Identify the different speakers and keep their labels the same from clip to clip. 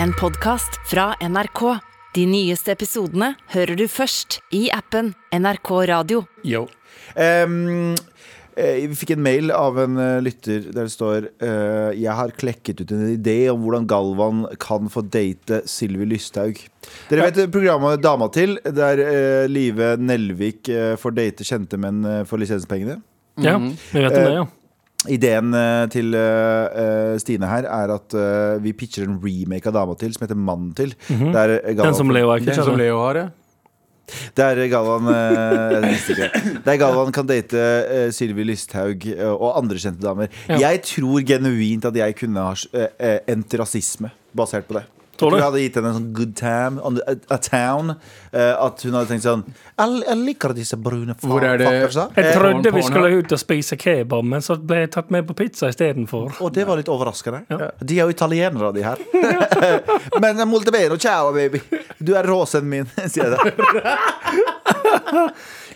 Speaker 1: En podcast fra NRK. De nyeste episodene hører du først i appen NRK Radio.
Speaker 2: Yo.
Speaker 3: Ehm, eh, vi fikk en mail av en eh, lytter der det står eh, Jeg har klekket ut en idé om hvordan Galvan kan få date Sylvi Lysthaug. Dere vet eh, programmet Dama til, der eh, Live Nelvik eh, får date kjente menn eh, for lisenspengene?
Speaker 2: Ja,
Speaker 4: Mhm.
Speaker 2: vi vet om det,
Speaker 4: Eh,
Speaker 2: ja.
Speaker 3: Ideen eh, til eh, eh, Stine her er at eh, vi pitcher en remake av Dama til som heter Mannen til. der Galvan
Speaker 2: Mhm. Den som
Speaker 3: får-
Speaker 2: Leo har
Speaker 4: Den som
Speaker 2: kjøpt.
Speaker 4: Leo har, ja.
Speaker 3: Der Galvan eh, jeg visste ikke. Der Galvan kan date eh, Sylvi Lysthaug eh, og andre kjente damer.
Speaker 2: Ja.
Speaker 3: Jeg tror genuint at jeg kunne ha eh, eh, endt rasisme basert på det. Jeg
Speaker 2: Tror du?
Speaker 3: tror jeg hadde gitt henne en sånn good time on the, a, a town. eh, at hun hadde tenkt sånn Jeg, jeg liker disse brune fa-
Speaker 4: Hvor er det-
Speaker 3: fuckersa.
Speaker 2: Jeg
Speaker 3: Eh,
Speaker 2: trodde vi
Speaker 4: Pornhub.
Speaker 2: skulle ut og spise kebab, men så ble jeg tatt med på pizza istedenfor.
Speaker 3: Eh, og det var litt overraskende. De er jo italienere, de her. Men molto bene, ciao, baby. Du er råsen min, sier jeg da.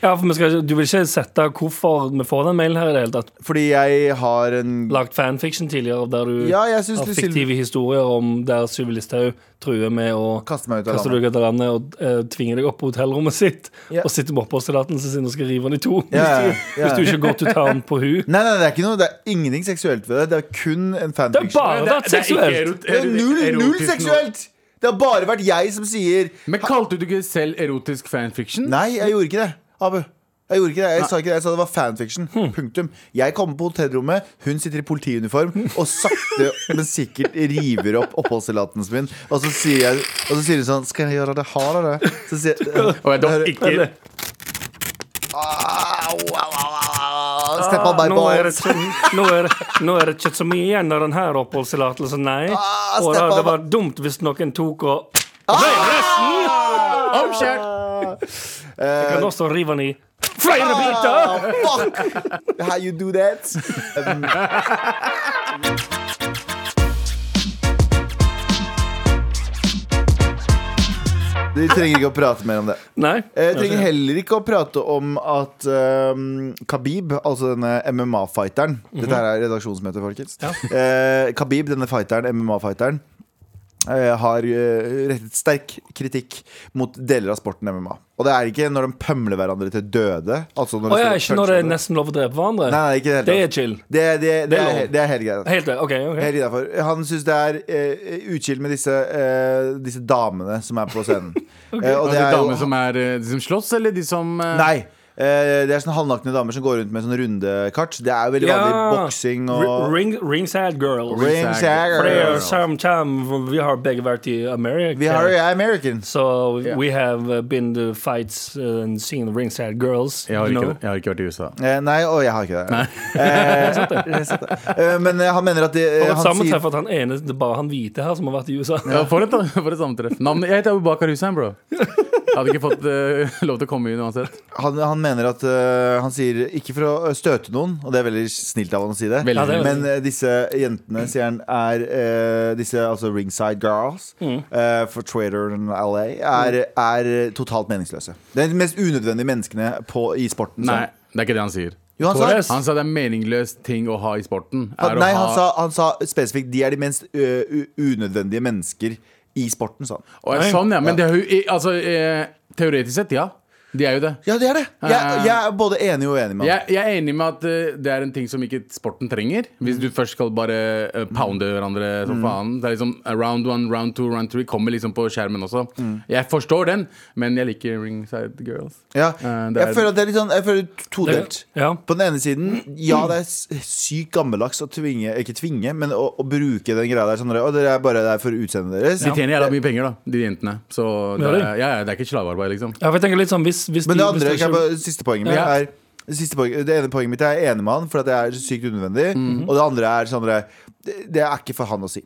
Speaker 2: Ja, for vi skal, du vil ikke sette hvorfor vi får den mailen her i det hele tatt?
Speaker 3: Fordi jeg har en
Speaker 2: Lagt fanfiction tidligere der du
Speaker 3: Ja, jeg syns
Speaker 4: Ah,
Speaker 2: har
Speaker 3: du
Speaker 2: fiktive historier om der Sylvi Listhaug truer med å
Speaker 3: kaster meg ut av
Speaker 2: kaste
Speaker 3: landet.
Speaker 2: deg ut av landet og eh, tvinger deg opp på hotellrommet sitt
Speaker 3: Ja.
Speaker 2: og sitter med oppholdstillatelsen sin og skal rive den i to.
Speaker 3: Ja,
Speaker 2: hvis, du,
Speaker 3: ja.
Speaker 2: hvis du ikke går til town på hun.
Speaker 3: Nei, nei, det er ikke noe, det er ingenting seksuelt ved det. Det er kun en
Speaker 2: Det er
Speaker 3: fanfiction.
Speaker 2: bare vært seksuelt!
Speaker 3: Det er null, null seksuelt! Det har bare vært jeg som sier
Speaker 4: Men kalte du ikke selv erotisk fanfiction?
Speaker 3: Nei, jeg gjorde ikke det, Abu. Jeg gjorde ikke det, jeg sa ikke det, jeg sa det var fanfiction.
Speaker 2: Hmm.
Speaker 3: Punktum. Jeg kommer på hotellrommet, hun sitter i politiuniform og sakte, men sikkert river opp oppholdstillatelsen min. Og så sier jeg Og så sier hun sånn Skal jeg gjøre det hardere? Så sier jeg
Speaker 4: Og jeg dog ikke
Speaker 3: «Au, au, au, au, au, Step on my
Speaker 2: Ah, Nå er, det
Speaker 3: balls.
Speaker 2: ikke, nå, er, det- nå er det ikke så mye igjen av denne oppholdstillatelsen, nei.
Speaker 3: Ah,
Speaker 2: og
Speaker 3: steppa
Speaker 2: da, det
Speaker 3: ba-
Speaker 2: var dumt hvis noen tok og
Speaker 4: Oh, shit!
Speaker 3: Eh,
Speaker 2: kan også rive den i flere biter!
Speaker 3: Fuck! How you do that? Um, Vi trenger ikke å prate mer om det.
Speaker 2: Nei.
Speaker 3: eh, Jeg trenger heller ikke å prate om at um, Khabib, altså denne MMA-fighteren
Speaker 2: Mhm.
Speaker 3: Dette her er redaksjonsmøte, folkens. Eh, Khabib, denne fighteren, MMA-fighteren, eh, har eh, rettet sterk kritikk mot deler av sporten MMA. Og det er ikke når de pømler hverandre til døde. Altså når
Speaker 2: Å
Speaker 3: de
Speaker 2: ja,
Speaker 3: står og puncher
Speaker 2: ikke når det er
Speaker 3: hverandre.
Speaker 2: nesten lov å drepe hverandre?
Speaker 3: Nei, nei, ikke i det hele
Speaker 2: det
Speaker 3: tatt.
Speaker 2: er chill.
Speaker 3: Det, det, det,
Speaker 2: er
Speaker 3: er,
Speaker 2: lov.
Speaker 3: he- det er helt greit.
Speaker 2: Helt det, ok, ok
Speaker 3: Helt innafor. Han syns det er eh, uchill med disse, eh, disse damene som er på scenen. Eh, og
Speaker 4: Og
Speaker 3: det
Speaker 4: de
Speaker 3: er jo
Speaker 4: damene som er eh, De som slåss, eller de som eh,
Speaker 3: Nei. eh, det er sånne halvnakne damer som går rundt med sånne rundekart. Det er jo veldig vanlig boksing og
Speaker 2: Ring, ringside girl.
Speaker 3: Ring
Speaker 4: Ring-
Speaker 2: For det er jo
Speaker 3: Sagger.
Speaker 2: samme time Vi har begge vært i America.
Speaker 3: Vi har jo Americans.
Speaker 2: So we have uh, been to fights uh, and seen ringside girls.
Speaker 4: Jeg har,
Speaker 2: you
Speaker 4: ikke,
Speaker 2: know.
Speaker 4: jeg har ikke vært i USA.
Speaker 3: Eh, nei, og jeg har ikke det. Eh, jeg satt det. Eh, men eh, han mener at de, eh,
Speaker 2: Og et
Speaker 3: han sier,
Speaker 2: sammentreff at han ene Det er bare han hvite her som har vært i USA.
Speaker 4: Ja, for, et, for et sammentreff. Navnet, jeg heter Abubakar Hussein, bro. Jeg hadde ikke fått eh, lov til å komme inn uansett.
Speaker 3: han, han mener at eh, Han sier ikke for å støte noen, og det er veldig snilt av han å si det.
Speaker 4: Veldig.
Speaker 2: Ja, det er
Speaker 3: Men eh, disse jentene, sier han, er eh, Disse altså ringside girls
Speaker 4: Mm.
Speaker 3: eh, for Trader and LA er, er totalt meningsløse. Det er de mest unødvendige menneskene på, i sporten.
Speaker 4: Nei,
Speaker 3: sa han.
Speaker 4: det er ikke det han sier.
Speaker 3: Sånn. Jo, han sa,
Speaker 2: Torres.
Speaker 4: Han sa det er meningsløs ting å ha i sporten. er
Speaker 3: han,
Speaker 4: å
Speaker 3: nei,
Speaker 4: ha-
Speaker 3: han sa, han sa spesifikt de er de minst ø, u- unødvendige mennesker i sporten, sa han.
Speaker 4: Å, ja, sånn, ja. Men det er jo i- altså, eh, teoretisk sett, ja. De er jo det.
Speaker 3: Ja, det er det! Jeg, jeg er både enig og uenig med han.
Speaker 4: Jeg, jeg er enig med at eh, det er en ting som ikke sporten trenger. Hvis du først skal bare eh, pounde hverandre som faen. Det er liksom eh, Round one, round two, round three kommer liksom på skjermen også. Jeg forstår den, men jeg liker ringside girls.
Speaker 3: Ja.
Speaker 4: Eh, det er-
Speaker 3: Jeg føler at det er litt sånn Jeg føler todelt.
Speaker 2: Ja.
Speaker 3: På den ene siden, ja, det er s- sykt gammeldags å tvinge Ikke tvinge, men å, å bruke den greia der. Sånn, og dere er bare der for utseendet deres.
Speaker 4: De tjener jævla mye penger, da, de jentene. Så det er,
Speaker 2: Gjør de?
Speaker 4: ja, ja, det er ikke slavearbeid, liksom.
Speaker 2: Ja, for jeg tenker litt sånn Hvis, hvis
Speaker 3: Men
Speaker 2: de-
Speaker 3: det
Speaker 2: hvis
Speaker 3: andre, kan
Speaker 2: det
Speaker 3: jeg
Speaker 2: ikke-
Speaker 3: bare, siste poenget mitt
Speaker 4: Ja.
Speaker 3: er det, siste poenget, det ene poenget mitt er jeg er enig med han, for at det er sykt unødvendig.
Speaker 2: Mhm.
Speaker 3: Og det andre er sånn der, det, det er ikke for han å si.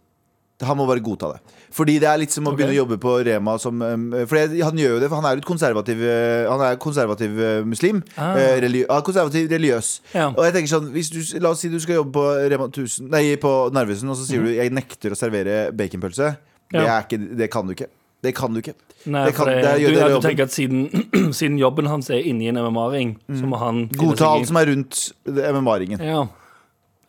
Speaker 3: Han må bare godta det. Fordi det er litt som å begynne å jobbe på Rema som um, For jeg- han gjør jo det, for han er jo et konservativ eh, Han er konservativ eh, muslim.
Speaker 2: Ah.
Speaker 3: eh, religi ja, konservativ religiøs.
Speaker 2: Ja.
Speaker 3: Og jeg tenker sånn hvis du, La oss si du skal jobbe på Rema 1000 Nei, på Narvesen, og så sier du 'jeg nekter å servere baconpølse'. Det,
Speaker 2: Mhm. Ja.
Speaker 3: er ikke, det kan du ikke. Det kan du ikke.
Speaker 2: Nei,
Speaker 3: det kan-
Speaker 2: for det,
Speaker 3: det gjør
Speaker 2: du,
Speaker 3: dere
Speaker 2: ja, du
Speaker 3: jobben.
Speaker 2: tenker at siden, siden jobben hans er inni en MMA-ring, så må han finne
Speaker 3: Mm. Godta
Speaker 2: seg i-
Speaker 3: alt som er rundt det- MMA-ringen.
Speaker 2: Ja.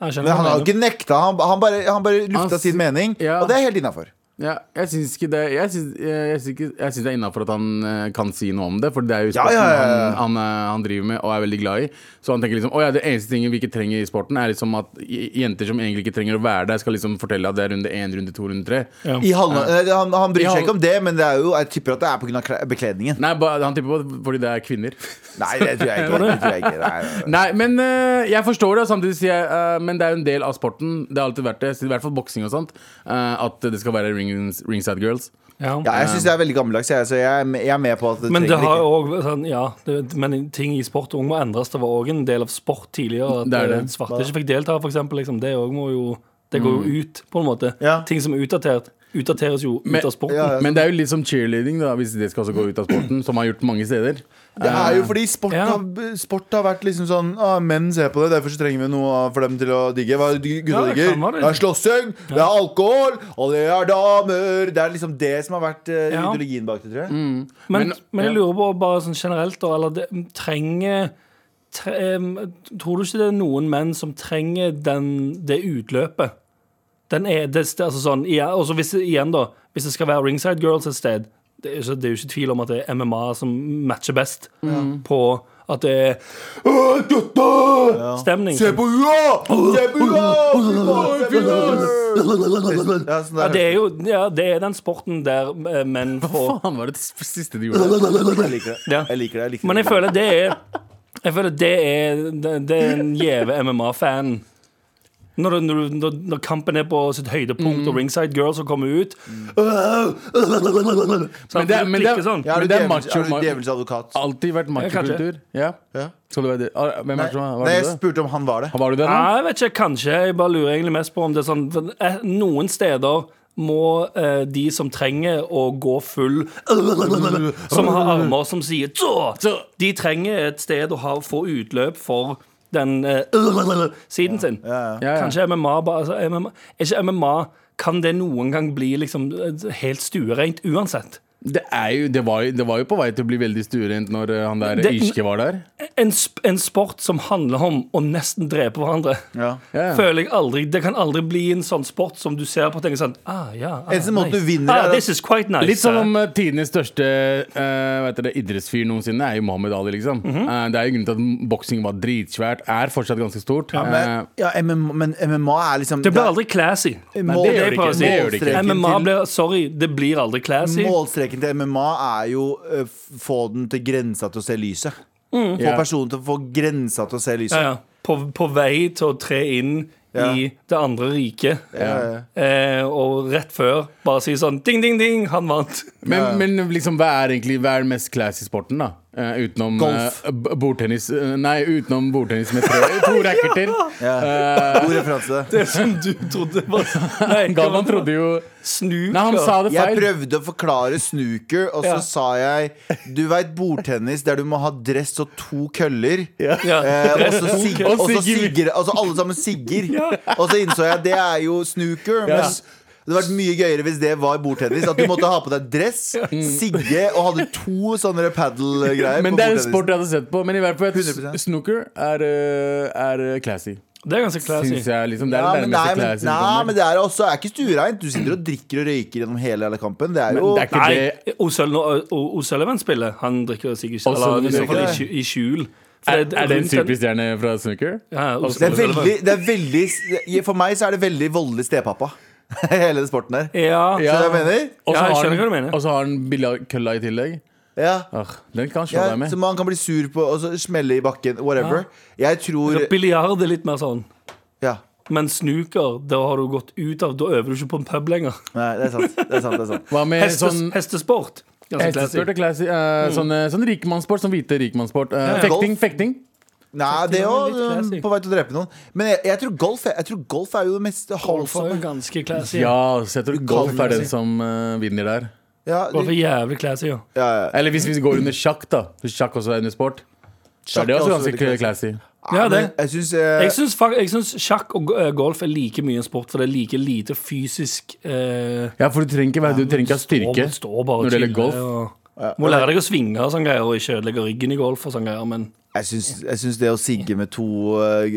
Speaker 2: Jeg skjønner
Speaker 3: Men han
Speaker 2: hva
Speaker 3: har jo
Speaker 2: du
Speaker 3: ikke nekta, han, han, bare, han bare lufta
Speaker 4: Han
Speaker 3: sin
Speaker 4: si-
Speaker 3: mening,
Speaker 4: Ja.
Speaker 3: og det er helt innafor.
Speaker 4: Ja, jeg syns ikke det Jeg syns, jeg, jeg syns ikke- jeg syns det er innafor at han eh, kan si noe om det, for det er jo
Speaker 3: Ja,
Speaker 4: sporten
Speaker 3: ja, ja, ja.
Speaker 4: Han, han, eh, han driver med og er veldig glad i. Så han tenker liksom Å ja, det eneste tingen vi ikke trenger i sporten, er liksom at j- jenter som egentlig ikke trenger å være der, skal liksom fortelle at det er runde én, runde to, runde tre.
Speaker 3: I halvna- eh, han, han bryr
Speaker 4: I
Speaker 3: seg
Speaker 4: halv-
Speaker 3: ikke om det, men det er jo, jeg tipper at det er pga. bekledningen.
Speaker 4: Nei, ba, han tipper på fordi det er kvinner.
Speaker 3: Nei, det tror jeg ikke. Det tror jeg ikke. Nei, nei, nei.
Speaker 4: Nei, men eh, jeg forstår det, og samtidig sier jeg eh, Men det er jo en del av sporten. Det har alltid vært det, så i hvert fall boksing og sånt. eh, at det skal være rings, ringside girls.
Speaker 3: Ja, jeg syns det er veldig gammeldags, jeg, så jeg, er med- jeg er med på at det
Speaker 2: Men det
Speaker 3: trenger
Speaker 2: har
Speaker 3: ikke
Speaker 2: òg sånn, Ja, det, men ting i sport og ung må endres. Det var òg en del av sport tidligere. At
Speaker 4: Det er det.
Speaker 2: eh, svarte ikke fikk delta, for eksempel. Liksom. Det, også må jo, det går jo ut, på en måte.
Speaker 3: Mm. Ja.
Speaker 2: Ting som er utdatert, utdateres jo
Speaker 4: Men-
Speaker 2: ut av sporten.
Speaker 3: Ja, sånn. ja.
Speaker 4: Men det er jo litt som cheerleading, da, hvis det skal også gå ut av sporten, som har gjort mange steder. Eh,
Speaker 3: Det er jo fordi sport,
Speaker 2: Ja.
Speaker 3: har, sport har vært liksom sånn ah, Menn ser på det, derfor så trenger vi noe for dem til å digge. Hva er det gutta
Speaker 2: Ja, det
Speaker 3: digger?
Speaker 2: kan være det.
Speaker 3: Det er slåssing, det er alkohol, og det er damer. Det er liksom det som har vært eh,
Speaker 2: Ja.
Speaker 3: ideologien bak det, tror jeg.
Speaker 2: Men,
Speaker 4: Men-
Speaker 2: men, jeg lurer på bare sånn generelt da, eller det, trenger tre, em, Tror du ikke det er noen menn som trenger den, det utløpet? Den er, det, det- altså sånn, ja, og så hvis, det- igjen da, hvis det skal være ringside girls et sted, det er, jo ikke- det er jo ikke tvil om at det er MMA som matcher best på at det er
Speaker 3: Åh, gutta!
Speaker 2: stemning.
Speaker 3: Se på hua! Se på hua! Se på hua! Ja, sånn
Speaker 2: Ja,
Speaker 3: der.
Speaker 2: det er jo ja, det er den sporten der eh, menn får
Speaker 4: Faen, var det det siste du gjorde?
Speaker 3: Jeg liker det.
Speaker 2: Ja.
Speaker 3: Jeg liker det. Jeg liker
Speaker 2: Men jeg
Speaker 3: det.
Speaker 2: føler det er Jeg føler det er Det, det er en gjeve MMA-fan når, du- når, du- når, når kampen er på sitt
Speaker 4: Mm.
Speaker 2: høydepunkt, og ringside girls som kommer ut
Speaker 4: Men det er- men det er-
Speaker 2: sånn.
Speaker 3: Ja, er
Speaker 4: Men det er
Speaker 3: du djevels-
Speaker 4: macho-
Speaker 3: er du djevelens advokat?
Speaker 4: Alltid vært machokultur. Ja.
Speaker 3: Ja.
Speaker 4: Skal du være det? Ah, Hvem er det som var det
Speaker 3: Nei, jeg
Speaker 4: det?
Speaker 3: spurte om han var det.
Speaker 4: Var det det? da?
Speaker 2: Nei, jeg vet ikke, kanskje. Jeg bare lurer egentlig mest på om det er sånn for, eh, Noen steder må eh, de som trenger å gå full Som har armer som sier «Tå», De trenger et sted å ha, få utløp for den eh, siden sin.
Speaker 4: Ja, ja.
Speaker 2: Kanskje MMA bare altså, MMA, Er ikke MMA Kan det noen gang bli liksom eh, helt stuereint uansett?
Speaker 4: Det, er jo, det, var, jo- det var jo på vei til å bli veldig stuerent når eh, han der
Speaker 2: Det-
Speaker 4: Irske var der.
Speaker 2: En, sp en sport som handler om å nesten drepe hverandre.
Speaker 3: Ja.
Speaker 4: Ja, ja.
Speaker 2: føler jeg aldri Det kan aldri bli en sånn sport som du ser på og tenker sånn ah, ja, ah,
Speaker 3: Eneste måten du vinner er
Speaker 2: ah,
Speaker 3: at-
Speaker 2: This is quite nice
Speaker 4: Litt som om eh, tidenes største eh, vet dere, idrettsfyr noensinne er jo Mohammed Ali, liksom.
Speaker 2: Mhm.
Speaker 4: Eh, det er jo grunnen til at boksing var dritsvært, er fortsatt ganske stort. Eh,
Speaker 3: Ja, men, ja, MMA, men MMA er liksom
Speaker 2: Det blir aldri classy.
Speaker 4: Nei, det gjør det ikke. altså. Det gjør det ikke.
Speaker 3: Målstreken
Speaker 2: MMA
Speaker 3: til-
Speaker 2: blir Sorry, det blir aldri classy.
Speaker 3: Målstreken til MMA er jo eh, f- få den til grensa til å se lyset. Få
Speaker 4: Mm. Ja.
Speaker 3: personen til å få grensa til å se lyset.
Speaker 2: Ja, ja. På, på vei til å tre inn
Speaker 3: Ja.
Speaker 2: i det andre riket.
Speaker 3: Ja, ja.
Speaker 2: Eh, og rett før bare si sånn ding, ding, ding, han vant.
Speaker 4: Men, men liksom, hva er egentlig Hva er den mest classy sporten, da? Eh, utenom
Speaker 3: Golf.
Speaker 4: eh, b- bordtennis eh, Nei, utenom bordtennis med tre, to racketer.
Speaker 3: God referanse.
Speaker 2: Det som du trodde var Nei, hva var
Speaker 4: Galvan
Speaker 2: det?
Speaker 4: trodde jo
Speaker 2: Snooker.
Speaker 4: Nei, han sa det
Speaker 3: Jeg
Speaker 4: feil.
Speaker 3: prøvde å forklare snooker, og så
Speaker 2: Ja.
Speaker 3: sa jeg Du veit bordtennis der du må ha dress og to køller.
Speaker 2: Ja.
Speaker 3: Eh, og så sig,
Speaker 4: Og
Speaker 3: og så
Speaker 4: sigger.
Speaker 3: sigger Altså alle sammen sigger. Og så innså jeg det er jo snooker. Men s- det hadde vært mye gøyere hvis det var bordtennis. At du måtte ha på deg dress, sigge og hadde to sånne padel-greier.
Speaker 4: Men
Speaker 3: på
Speaker 4: det er en
Speaker 3: bordtennis.
Speaker 4: sport jeg hadde sett på. Men i hvert fall
Speaker 3: 100%.
Speaker 4: s- snooker er, eh, er eh, classy.
Speaker 2: Det er ganske classy.
Speaker 4: Syns jeg liksom Det er
Speaker 3: Ja,
Speaker 4: den
Speaker 3: men, nei,
Speaker 4: nærmeste
Speaker 3: men,
Speaker 4: classy.
Speaker 3: nei,
Speaker 4: vi
Speaker 3: men
Speaker 4: kommer.
Speaker 3: det er også er ikke stuereint. Du sitter og drikker og røyker gjennom hele hele kampen. Det er
Speaker 4: Men
Speaker 3: jo
Speaker 4: det er ikke det
Speaker 2: Nei, O'Sullivan- O- O- O'Sullivan spiller. Han drikker sikkert ikke. Eller
Speaker 4: O'Sullivan
Speaker 2: i så fall i
Speaker 3: drikker.
Speaker 2: skju- i skjul. For
Speaker 4: Er, er det en
Speaker 2: rundt den-
Speaker 4: superstjerne fra snooker?
Speaker 2: Ja,
Speaker 3: Det er,
Speaker 2: O'Sullivan.
Speaker 3: veldig, det er veldig For meg så er det veldig voldelig stepappa. Hele den sporten der.
Speaker 2: Ja.
Speaker 4: Ja.
Speaker 3: Skjønner du hva jeg mener?
Speaker 4: Og så
Speaker 2: Ja, jeg
Speaker 4: har
Speaker 2: skjønner
Speaker 4: han-
Speaker 2: hva du mener.
Speaker 4: Og så har han billa kølla i tillegg.
Speaker 3: Ja.
Speaker 4: Ah, den kan slå
Speaker 3: Ja,
Speaker 4: deg med.
Speaker 3: så man kan bli sur på og så smelle i bakken. Whatever. Jeg tror
Speaker 2: Så Biljard er litt mer sånn.
Speaker 3: Ja.
Speaker 2: Men snooker, da har du gått ut av Da øver du ikke på en pub lenger.
Speaker 3: Nei, det er sant. Det er sant, det er sant.
Speaker 4: Hva med
Speaker 2: Hestes,
Speaker 4: sånn
Speaker 2: hestesport. Ganske
Speaker 3: Altså,
Speaker 4: Hestesport
Speaker 2: classy.
Speaker 4: er classy. eh, sånn, eh, sånn rikmannssport, sånn hvite rikmannssport. Eh,
Speaker 3: Mm. ja.
Speaker 4: Fekting,
Speaker 3: Golf.
Speaker 4: fekting.
Speaker 3: Nei, det er
Speaker 2: Litt classy.
Speaker 3: jo på vei til å drepe noen. Men jeg, jeg, tror, golf, er- jeg tror golf er jo det mest
Speaker 2: Golf er
Speaker 3: holdsomme.
Speaker 2: ganske classy. Ja.
Speaker 4: Ja, så jeg tror
Speaker 3: Du
Speaker 4: golf
Speaker 3: kan
Speaker 4: er den
Speaker 3: si.
Speaker 4: som eh, vinner der.
Speaker 3: Ja,
Speaker 2: Golf er
Speaker 3: ja,
Speaker 2: jævlig classy, ja.
Speaker 3: ja.
Speaker 4: Eller hvis vi går under sjakk, da. Hvis sjakk også er under sport. Så er det
Speaker 3: Sjakk
Speaker 4: også
Speaker 3: er
Speaker 4: ganske
Speaker 3: veldig
Speaker 4: classy.
Speaker 2: Ja, det.
Speaker 3: Men Jeg syns
Speaker 2: Jeg
Speaker 3: eh,
Speaker 2: syns, fak- jeg syns sjakk og go- eh, golf er like mye en sport, for det er like lite fysisk eh,
Speaker 4: Ja, for du trenger ikke, være- du trenger ikke ha styrke.
Speaker 2: Står, står bare og
Speaker 4: når det gjelder
Speaker 2: chiller
Speaker 4: golf.
Speaker 2: Og, må lære deg å svinge og sånn greier, og ikke ødelegge ryggen i golf og sånn greier, men
Speaker 3: jeg syns- jeg syns det å sigge med to eh,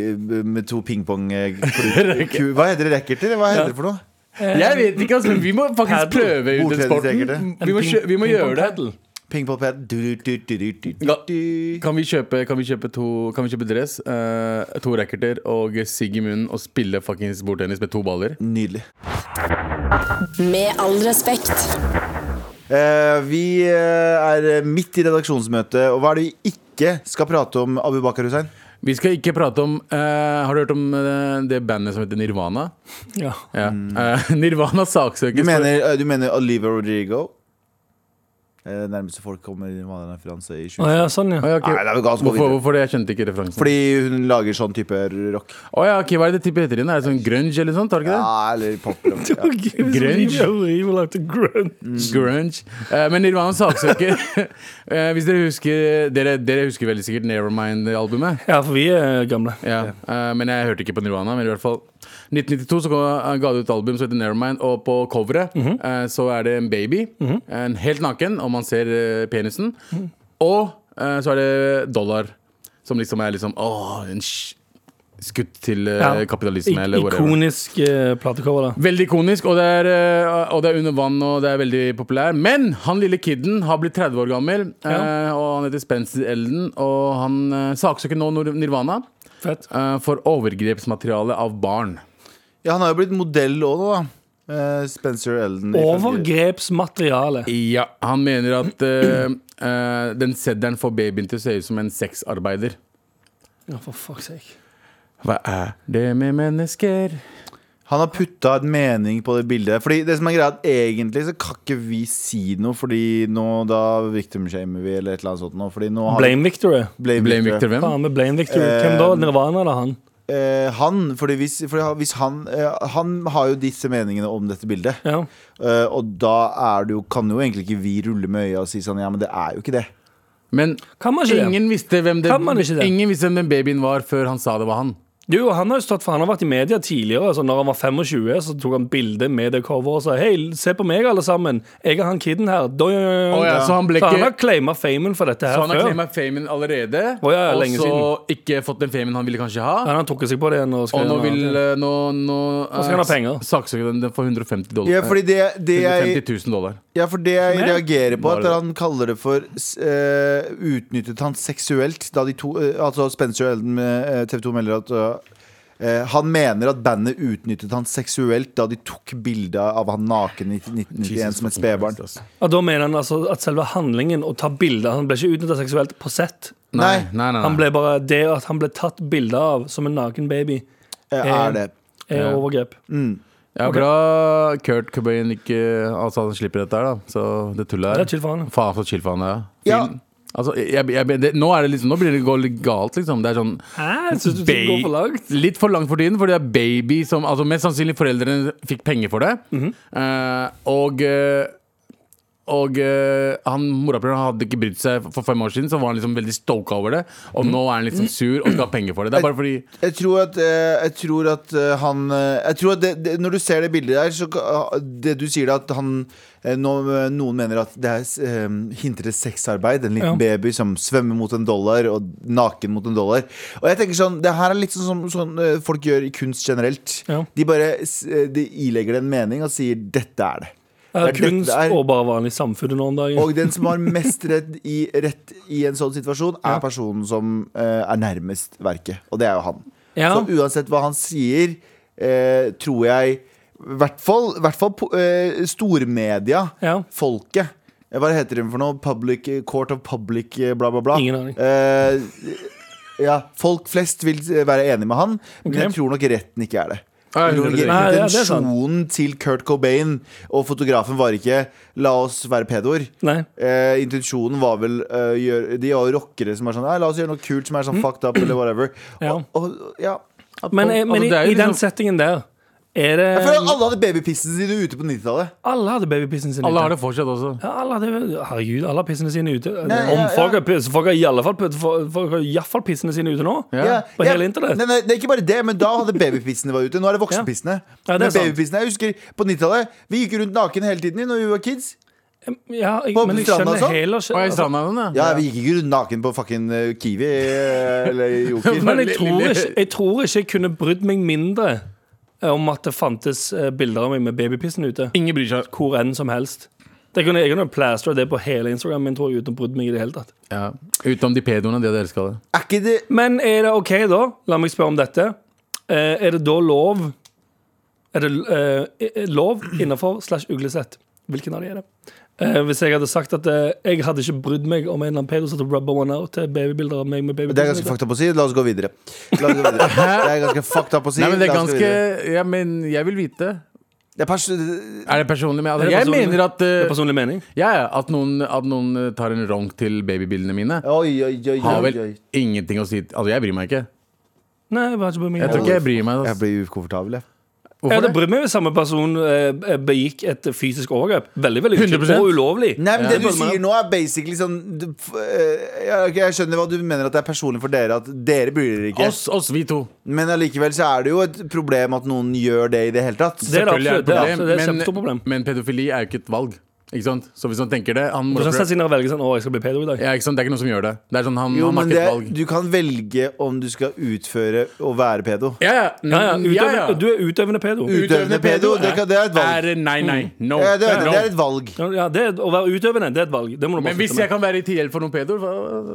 Speaker 3: Med to pingpong eh, klut- Hva heter det? Racketer? Hva heter det for noe?
Speaker 4: Jeg vet ikke, altså, men vi må faktisk
Speaker 2: Paddle.
Speaker 4: prøve ut den
Speaker 3: Bordtennis,
Speaker 4: sporten.
Speaker 3: sikkert.
Speaker 4: Vi må, kjø vi må gjøre det.
Speaker 2: Pingpongpadel.
Speaker 3: Pingpongpad du, du, du, du, du, du,
Speaker 4: Ja.
Speaker 3: du.
Speaker 4: Kan vi kjøpe, kan vi kjøpe, to, kan vi kjøpe dress, eh, to racketer og sigg i munnen og spille fuckings bordtennis med to baller?
Speaker 3: Nydelig.
Speaker 1: Med all respekt.
Speaker 3: Eh, vi eh, er midt i redaksjonsmøtet, og hva er det vi ikke skal prate om, Abu Bakar Hussein?
Speaker 4: Vi skal ikke prate om eh, Har du hørt om eh, det bandet som heter Nirvana?
Speaker 2: Ja.
Speaker 4: Ja. Eh, Nirvana
Speaker 3: Mm. Du
Speaker 4: saksøkes
Speaker 3: mener, eh, du mener Oliver Rodrigo? Eh, nærmeste folk kommer i en referanse i 20...
Speaker 2: Å ja, sånn,
Speaker 4: for Å, ja,
Speaker 2: ja.
Speaker 4: ok.
Speaker 3: Nei, det er vel ganske
Speaker 4: hvorfor,
Speaker 3: videre.
Speaker 4: hvorfor det? Jeg skjønte ikke referansen.
Speaker 3: Fordi hun lager sånn type rock.
Speaker 4: Å ja, ok, Hva er det type heter igjen? Er det sånn grunge eller sånt? Har det ikke det?
Speaker 3: Ja, eller poprock. Ja.
Speaker 4: Grunge.
Speaker 2: Grunge.
Speaker 3: mm.
Speaker 4: Grunge. Eh, men Nirvana saksøker. Eh, hvis dere husker dere, dere husker veldig sikkert Nevermind-albumet.
Speaker 2: Ja, for vi er gamle.
Speaker 4: Ja, eh, Men jeg hørte ikke på Nirvana. Men i hvert fall 1992 så eh, ga- ga det ut et album som heter Nevermind, og på coveret eh, så er det en baby. eh, En helt naken, og man ser eh, penisen. Og eh, så er det dollar, som liksom er liksom Åh, en sj- skutt til eh,
Speaker 2: Ja.
Speaker 4: kapitalisme, eller whatever.
Speaker 2: Ikonisk eh, platecover, da.
Speaker 4: Veldig ikonisk, og det, er, eh, og det er under vann og det er veldig populær. Men han lille kiden har blitt 30 år gammel, eh, og han heter Spencer Elden. Og han eh, saksøker nå Nor- Nirvana
Speaker 2: Fett.
Speaker 4: eh, for overgrepsmateriale av barn.
Speaker 3: ja, han har jo blitt modell òg nå, da. Eh, Spencer Elden.
Speaker 2: Overgrepsmateriale.
Speaker 4: Ja, Han mener at eh, eh, den sedderen får babyen til å se ut som en sexarbeider.
Speaker 2: Ja, for fuck's sake.
Speaker 4: Hva er det med mennesker?
Speaker 3: Han har putta en mening på det bildet. Fordi det som er greia er at Egentlig så kan ikke vi si noe, fordi nå da victim-shamer vi eller et eller annet sånt. Nå, fordi nå har
Speaker 2: Blame Victory.
Speaker 3: Blame
Speaker 4: Blame
Speaker 3: Victor.
Speaker 4: Victor hvem?
Speaker 2: Faen med Blame Victory. Hvem da? Nirvana eller han?
Speaker 3: Eh, han, fordi hvis, fordi han- hvis han eh, Han har jo disse meningene om dette bildet.
Speaker 2: Ja.
Speaker 3: Eh, og da er det jo, kan jo egentlig ikke vi rulle med øya og si sånn Ja, men det er jo ikke det.
Speaker 4: Men
Speaker 2: Kan man ikke det?
Speaker 4: ingen visste, hvem det,
Speaker 2: Kan man ikke det?
Speaker 4: ingen visste hvem den babyen var før han sa det var han.
Speaker 2: Jo, han har jo stått for Han har vært i media tidligere. Så når han var 25, så tok han bilde med det coveret og sa Hei, se på meg, alle sammen. Jeg er han kiden her. Da,
Speaker 4: Å ja, så han ble
Speaker 2: så han
Speaker 4: ikke-
Speaker 2: har claima famen for dette her
Speaker 4: Så han har
Speaker 2: før.
Speaker 4: claima famen allerede,
Speaker 2: Å ja,
Speaker 4: og
Speaker 2: ja, lenge
Speaker 4: så ikke fått den famen han ville kanskje
Speaker 2: Ja,
Speaker 4: ha.
Speaker 2: han har trukket seg på det igjen. Og,
Speaker 4: Og nå
Speaker 2: skrevet noe
Speaker 4: vil
Speaker 2: annet.
Speaker 4: eh, Nå, nå
Speaker 2: skal han ha penger.
Speaker 4: saksøker den, den for 150 dollar.
Speaker 3: Ja, fordi det, det jeg
Speaker 4: 150 000 dollar.
Speaker 3: Ja, for det jeg
Speaker 2: Som er-
Speaker 3: reagerer på,
Speaker 4: Bare
Speaker 3: er at
Speaker 4: det.
Speaker 3: han kaller det for eh, Utnyttet han seksuelt da de to eh, Altså Spencer og Elden med TV 2 melder at eh, han mener at bandet utnyttet han seksuelt da de tok bilde av han naken i 1991 som et spedbarn.
Speaker 4: Christ, ass.
Speaker 2: og da mener han altså at selve handlingen å ta bilder Han ble ikke utnytta seksuelt på sett.
Speaker 4: Nei,
Speaker 3: Nei.
Speaker 4: nei, nei,
Speaker 2: Han
Speaker 4: nei.
Speaker 2: ble bare Det at han ble tatt bilde av som en naken baby,
Speaker 3: Eh,
Speaker 2: Eh,
Speaker 3: Er det
Speaker 2: er
Speaker 4: Ja.
Speaker 2: overgrep.
Speaker 4: Ja,
Speaker 2: Ok.
Speaker 4: bra Kurt Cobain ikke Altså, han slipper dette her, da. Så det tullet
Speaker 2: Det er
Speaker 4: her.
Speaker 2: chill for han.
Speaker 4: Faen, så chill for han er.
Speaker 3: Ja.
Speaker 4: Fin. Altså, jeg, jeg, det, nå, er det liksom, nå blir det gå litt galt, liksom. Det er sånn
Speaker 2: Hæ? Jeg synes du
Speaker 4: Ba-
Speaker 2: går for langt.
Speaker 4: Litt for langt for tiden, fordi det er baby som altså Mest sannsynlig foreldrene fikk penger for det.
Speaker 2: Mhm.
Speaker 4: Eh, og eh, og eh, han morapuleren hadde ikke brydd seg for fem år siden, så var han liksom veldig stoka over det. Og
Speaker 2: Mhm.
Speaker 4: nå er han liksom sur og skal ha penger for det. Det er bare fordi
Speaker 3: Jeg tror at, eh, jeg tror at eh, han eh, Jeg tror at det, det, Når du ser det bildet der, så ka- ah, Det du sier, da, at han eh, nå, eh, Noen mener at det er eh, hinter til sexarbeid. En liten
Speaker 2: Ja.
Speaker 3: baby som svømmer mot en dollar, og naken mot en dollar. Og jeg tenker sånn Det her er litt sånn som sånn, eh, folk gjør i kunst generelt.
Speaker 2: Ja.
Speaker 3: De bare s- eh, de ilegger det en mening og sier 'dette er det'.
Speaker 2: Ja,
Speaker 3: Det er-
Speaker 2: kunst
Speaker 3: dette er-
Speaker 2: og bare vanlig samfunn nå om dagen.
Speaker 3: og den som har mest rett i, rett i en sånn situasjon, er personen som eh, er nærmest verket. Og det er jo han.
Speaker 2: Ja.
Speaker 3: Så uansett hva han sier, eh, tror jeg I hvert fall, hvert fall po- eh, stormedia,
Speaker 2: Ja.
Speaker 3: folket eh, Hva heter det for noe? Public, court of public, eh, bla, bla, bla.
Speaker 2: Ingen aning.
Speaker 3: Eh, ja, folk flest vil eh, være enig med han, men
Speaker 2: Ok.
Speaker 3: jeg tror nok retten ikke er det.
Speaker 4: Nei,
Speaker 3: Jeg tror nok
Speaker 4: det-
Speaker 2: Nei, ja, det er sant.
Speaker 3: Intensjonen til Kurt Cobain og fotografen var ikke 'la oss være pedoer'.
Speaker 2: Nei.
Speaker 3: Eh, intensjonen var vel eh, gjør, De har jo rockere som er sånn «Nei, La oss gjøre noe kult som er sånn fucked up, eller whatever.
Speaker 2: Mm. Ja.
Speaker 3: Og, og, ja.
Speaker 2: Men,
Speaker 4: folk-
Speaker 2: men
Speaker 4: altså, det er jo
Speaker 2: i, i den
Speaker 4: liksom-
Speaker 2: settingen der er det
Speaker 3: Jeg føler at alle hadde babypissen sine ute på 90-tallet.
Speaker 2: Alle hadde babypissen sin
Speaker 4: alle
Speaker 2: ute.
Speaker 4: har det fortsatt også.
Speaker 2: Ja, alle hadde, herregud, alle har pissene sine ute.
Speaker 3: Nei, ja,
Speaker 2: Om
Speaker 3: ja.
Speaker 2: folk har piss- folk har i alle fall putt- folk- folk har i alle fall pissene sine ute nå.
Speaker 4: Ja.
Speaker 3: Ja,
Speaker 2: På
Speaker 3: ja.
Speaker 2: hele internett.
Speaker 3: Nei, nei, det er ikke bare det, men da hadde babypissene vært ute. Nå er det voksenpissene.
Speaker 2: Ja, det er
Speaker 3: men
Speaker 2: sant.
Speaker 3: babypissene, jeg husker På 90-tallet Vi gikk rundt naken hele tiden når vi var kids.
Speaker 2: Ja, jeg,
Speaker 3: På
Speaker 2: men jeg
Speaker 3: stranda
Speaker 2: skjønner
Speaker 3: også?
Speaker 2: heller
Speaker 4: Og jeg er sånn, i
Speaker 2: ikke altså,
Speaker 4: stranda den,
Speaker 3: Ja, Vi gikk ikke rundt naken på fucking eh, Kiwi eh, eller Joker.
Speaker 2: Men jeg
Speaker 4: Lille-
Speaker 2: tror, ikke, jeg tror ikke jeg kunne brydd meg mindre eh, om at det fantes eh, bilder av meg med babypissen ute.
Speaker 4: Ingen bryr seg.
Speaker 2: Hvor enn som helst. Det kunne, jeg kunne plastra det på hele Instagram min, tror jeg, uten å brydde meg i det hele tatt.
Speaker 4: Ja. Utenom de pedoene, det dere skal.
Speaker 3: Er ikke det
Speaker 2: Men er det OK, da? La meg spørre om dette. Eh, er det da lov Er det eh, er lov innenfor slash uglesett? Hvilken av de er det? Eh, hvis jeg hadde sagt at eh, jeg hadde ikke brydd meg om en eller annen pedo satt og rubba one out til babybilder av meg med baby
Speaker 3: Det er ganske fucked up å si. La oss gå videre. La oss gå videre. Det er ganske fucked up å si.
Speaker 4: Nei, men det er
Speaker 3: La oss gå
Speaker 4: ganske
Speaker 3: videre.
Speaker 4: Ja, men jeg vil vite.
Speaker 3: Det er pers-
Speaker 4: Er det personlig med
Speaker 2: Er
Speaker 4: alder?
Speaker 2: det
Speaker 4: Jeg
Speaker 2: personlig?
Speaker 4: mener at
Speaker 2: Det
Speaker 4: eh,
Speaker 2: er personlig mening.
Speaker 4: ja, ja, at, noen, at noen eh, tar en ronk til babybildene mine,
Speaker 3: Oi, oi, oi,
Speaker 4: har
Speaker 3: oi,
Speaker 4: vel
Speaker 3: oi.
Speaker 4: ingenting å si. Altså, jeg bryr meg ikke.
Speaker 2: Nei, jeg har ikke brydd meg.
Speaker 4: Jeg tror ikke jeg bryr meg.
Speaker 3: Jeg
Speaker 4: ass.
Speaker 3: blir ukomfortabel, jeg.
Speaker 2: Jeg
Speaker 4: Hvorfor
Speaker 2: hadde
Speaker 4: det?
Speaker 2: brydd meg hvis samme person eh, begikk et fysisk overgrep. Veldig, veldig ukult
Speaker 4: 100%.
Speaker 2: og ulovlig.
Speaker 3: Nei, men Det du
Speaker 2: Ja.
Speaker 3: sier nå, er basically sånn du, f- eh, ja, ok, Jeg skjønner hva du mener at det er personlig for dere. At dere bryr dere ikke.
Speaker 4: Oss, oss, vi to.
Speaker 3: Men allikevel så er det jo et problem at noen gjør det i det hele tatt.
Speaker 2: Det er det
Speaker 4: Selvfølgelig
Speaker 2: absolutt. Det er, absolutt- det er et
Speaker 4: men-
Speaker 2: kjempestort problem.
Speaker 4: Men pedofili er jo ikke et valg. Ikke sant? Så hvis han tenker det han må
Speaker 2: Du kan sette seg ned og velge sånn Å, jeg skal bli pedo i dag.
Speaker 4: ja, ikke sant? Det er ikke noen som gjør det. Det er sånn han, han
Speaker 3: Jo,
Speaker 4: har
Speaker 3: men
Speaker 4: ikke
Speaker 3: det,
Speaker 4: et valg.
Speaker 3: du kan velge om du skal utføre å være pedo.
Speaker 4: Ja, ja.
Speaker 2: Ja, ja,
Speaker 4: Mm,
Speaker 2: utøvende, Du er utøvende pedo.
Speaker 3: Utøvende pedo, det kan- det er et valg.
Speaker 4: Er, nei, nei. No.
Speaker 3: Ja, det, er-
Speaker 4: no.
Speaker 3: det er et valg.
Speaker 2: Ja, det, er- å være utøvende, det er et valg. Det må du bare
Speaker 4: Men hvis
Speaker 2: slutte med.
Speaker 4: jeg kan være til hjelp for noen pedoer, hva,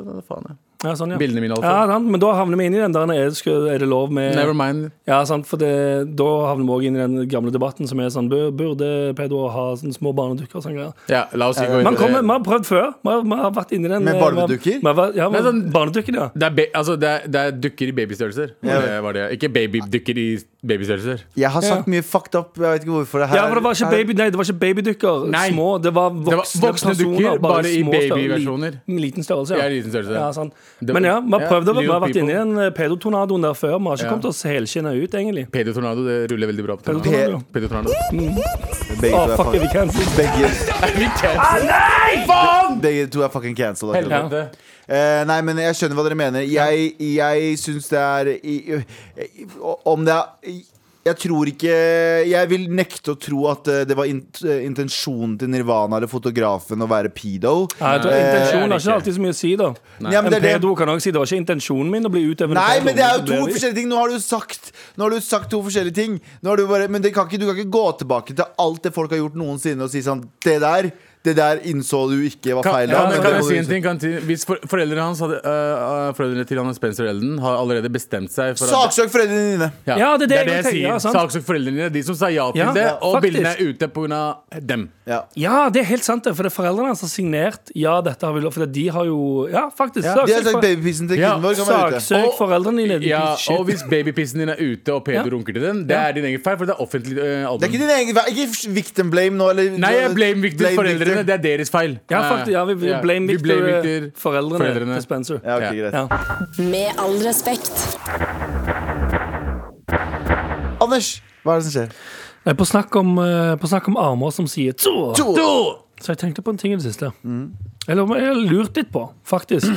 Speaker 4: hva faen? Jeg.
Speaker 2: Ja, sånn, ja.
Speaker 4: Bildene mine,
Speaker 2: Ja,
Speaker 4: iallfall.
Speaker 2: sant, men da havner vi inn i den der er det, sku- er det lov med
Speaker 4: Never mind.
Speaker 2: Ja, sant, for det, da havner vi også inn i den gamle debatten som er sånn bur- Burde pedoer ha sånne små barnedukker og sånne greier?
Speaker 4: Ja, la oss ikke gå
Speaker 2: Man
Speaker 4: videre.
Speaker 2: kommer, Vi har prøvd før. Vi har, vi har vært inni den
Speaker 3: Med
Speaker 2: eh,
Speaker 3: barnedukker?
Speaker 2: vi har vært- Ja,
Speaker 4: Nei, sånn-
Speaker 2: barnedukker, ja.
Speaker 4: Det er, ba altså, det, er, det er dukker i babystørrelser.
Speaker 3: Ja.
Speaker 4: Det var det. Ikke babydukker i babystørrelser.
Speaker 3: Jeg har sagt mye fucked up. Jeg vet ikke hvorfor det her
Speaker 2: Ja, for det var ikke,
Speaker 3: her-
Speaker 2: baby, nei, det var ikke babydukker.
Speaker 4: Nei.
Speaker 2: Små. Det var voksne,
Speaker 4: var voksne
Speaker 2: personer,
Speaker 4: dukker, bare i
Speaker 2: små størrel-
Speaker 4: babyversjoner.
Speaker 2: Liten, liten størrelse,
Speaker 4: Ja, liten størrelse.
Speaker 2: Ja, sant.
Speaker 4: Det-
Speaker 2: Men ja, vi har
Speaker 4: ja,
Speaker 2: prøvd det. Vi har
Speaker 4: little
Speaker 2: vært inni
Speaker 4: people.
Speaker 2: den eh, pedotornadoen der før. Vi har ikke
Speaker 4: Ja.
Speaker 2: kommet oss helskinna ut, egentlig.
Speaker 4: Pedotornado, det ruller veldig bra. på tornado.
Speaker 2: Pedotornado.
Speaker 4: Pedotornado.
Speaker 3: Begge
Speaker 2: Å,
Speaker 3: to er
Speaker 2: fuck, er
Speaker 3: fucking-
Speaker 2: vi cancelled?
Speaker 3: Begge,
Speaker 2: Nei, faen!
Speaker 3: begge to er fucking cancelled. akkurat.
Speaker 4: Helvete.
Speaker 3: Eh, nei, men jeg skjønner hva dere mener. Jeg, jeg syns det er i- i- Om det er Jeg tror ikke Jeg vil nekte å tro at eh, det var int- intensjonen til Nirvana eller fotografen å være pedo.
Speaker 2: Ja, jeg tror
Speaker 3: Eh,
Speaker 4: det
Speaker 2: Intensjon har
Speaker 4: er
Speaker 2: ikke
Speaker 4: ikke.
Speaker 2: alltid så mye å si, da.
Speaker 3: Ja, men
Speaker 2: En
Speaker 3: det er det-
Speaker 2: pedo kan også si det var ikke intensjonen min å bli utøvende
Speaker 3: Nei,
Speaker 2: pedo,
Speaker 3: men det er jo
Speaker 2: så
Speaker 3: to
Speaker 2: ble vi.
Speaker 3: forskjellige ting. Nå har du sagt, nå har du sagt to forskjellige ting. Nå har du bare, men det kan ikke, du kan ikke gå tilbake til alt det folk har gjort noensinne, og si sånn Det der det der innså du ikke var
Speaker 4: Kan,
Speaker 3: feil.
Speaker 4: ja,
Speaker 3: da,
Speaker 4: men
Speaker 3: så
Speaker 4: kan
Speaker 3: det
Speaker 4: jeg
Speaker 3: må
Speaker 4: si
Speaker 3: du
Speaker 4: en
Speaker 3: innse.»
Speaker 4: ting? Kan jeg si- hvis for, foreldrene, hans hadde, øh, øh, foreldrene til han Spencer Elden har allerede bestemt seg for at-
Speaker 3: Saksøk foreldrene dine.
Speaker 2: Ja, det er det jeg
Speaker 4: jeg,
Speaker 2: tenker,
Speaker 4: sier.
Speaker 2: ja, sant.
Speaker 4: Saksøk foreldrene dine, de som sa ja til
Speaker 2: Ja,
Speaker 4: det,
Speaker 2: ja,
Speaker 4: og
Speaker 2: faktisk.
Speaker 4: bildene er ute pga. dem.
Speaker 3: Ja.
Speaker 2: Ja, det er helt sant, det. For det er foreldrene hans som har signert ja, dette har vi lov, for det- de har jo Ja, faktisk.
Speaker 3: De har
Speaker 2: Saksøk,
Speaker 3: sagt
Speaker 2: for,
Speaker 3: babypissen til
Speaker 4: Ja,
Speaker 3: kiden vår. Kan være ute.
Speaker 2: saksøk
Speaker 4: Og-
Speaker 2: foreldrene dine.
Speaker 4: Ja,
Speaker 2: Ja,
Speaker 4: og hvis babypissen din er ute og pedo
Speaker 2: Ja.
Speaker 4: runker til den, det
Speaker 2: Ja.
Speaker 4: er din egen feil, for det er offentlig øh, album.
Speaker 3: Det er ikke din egen feil. Ikke victim blame nå. Eller,
Speaker 4: Nei, jeg blame victor
Speaker 3: Blame
Speaker 4: foreldrene.
Speaker 3: victim.
Speaker 4: Det er deres feil.
Speaker 2: ja, faktisk, ja, vi, vi
Speaker 4: Ja,
Speaker 2: blame
Speaker 4: vi
Speaker 2: Victor,
Speaker 4: blame
Speaker 2: eh,
Speaker 4: Victor,
Speaker 2: foreldrene,
Speaker 4: foreldrene.
Speaker 2: til Spencer.
Speaker 3: Ja, ok, greit.
Speaker 2: Ja.
Speaker 1: Med all respekt.
Speaker 3: Anders, hå er det som skjer?
Speaker 2: Nei, På snakk om, eh, på snakk om armer som sier tjo,
Speaker 3: To.
Speaker 2: så jeg tenkte på en ting i det siste.
Speaker 3: Mm.
Speaker 2: Eller om jeg har lurt litt på, faktisk.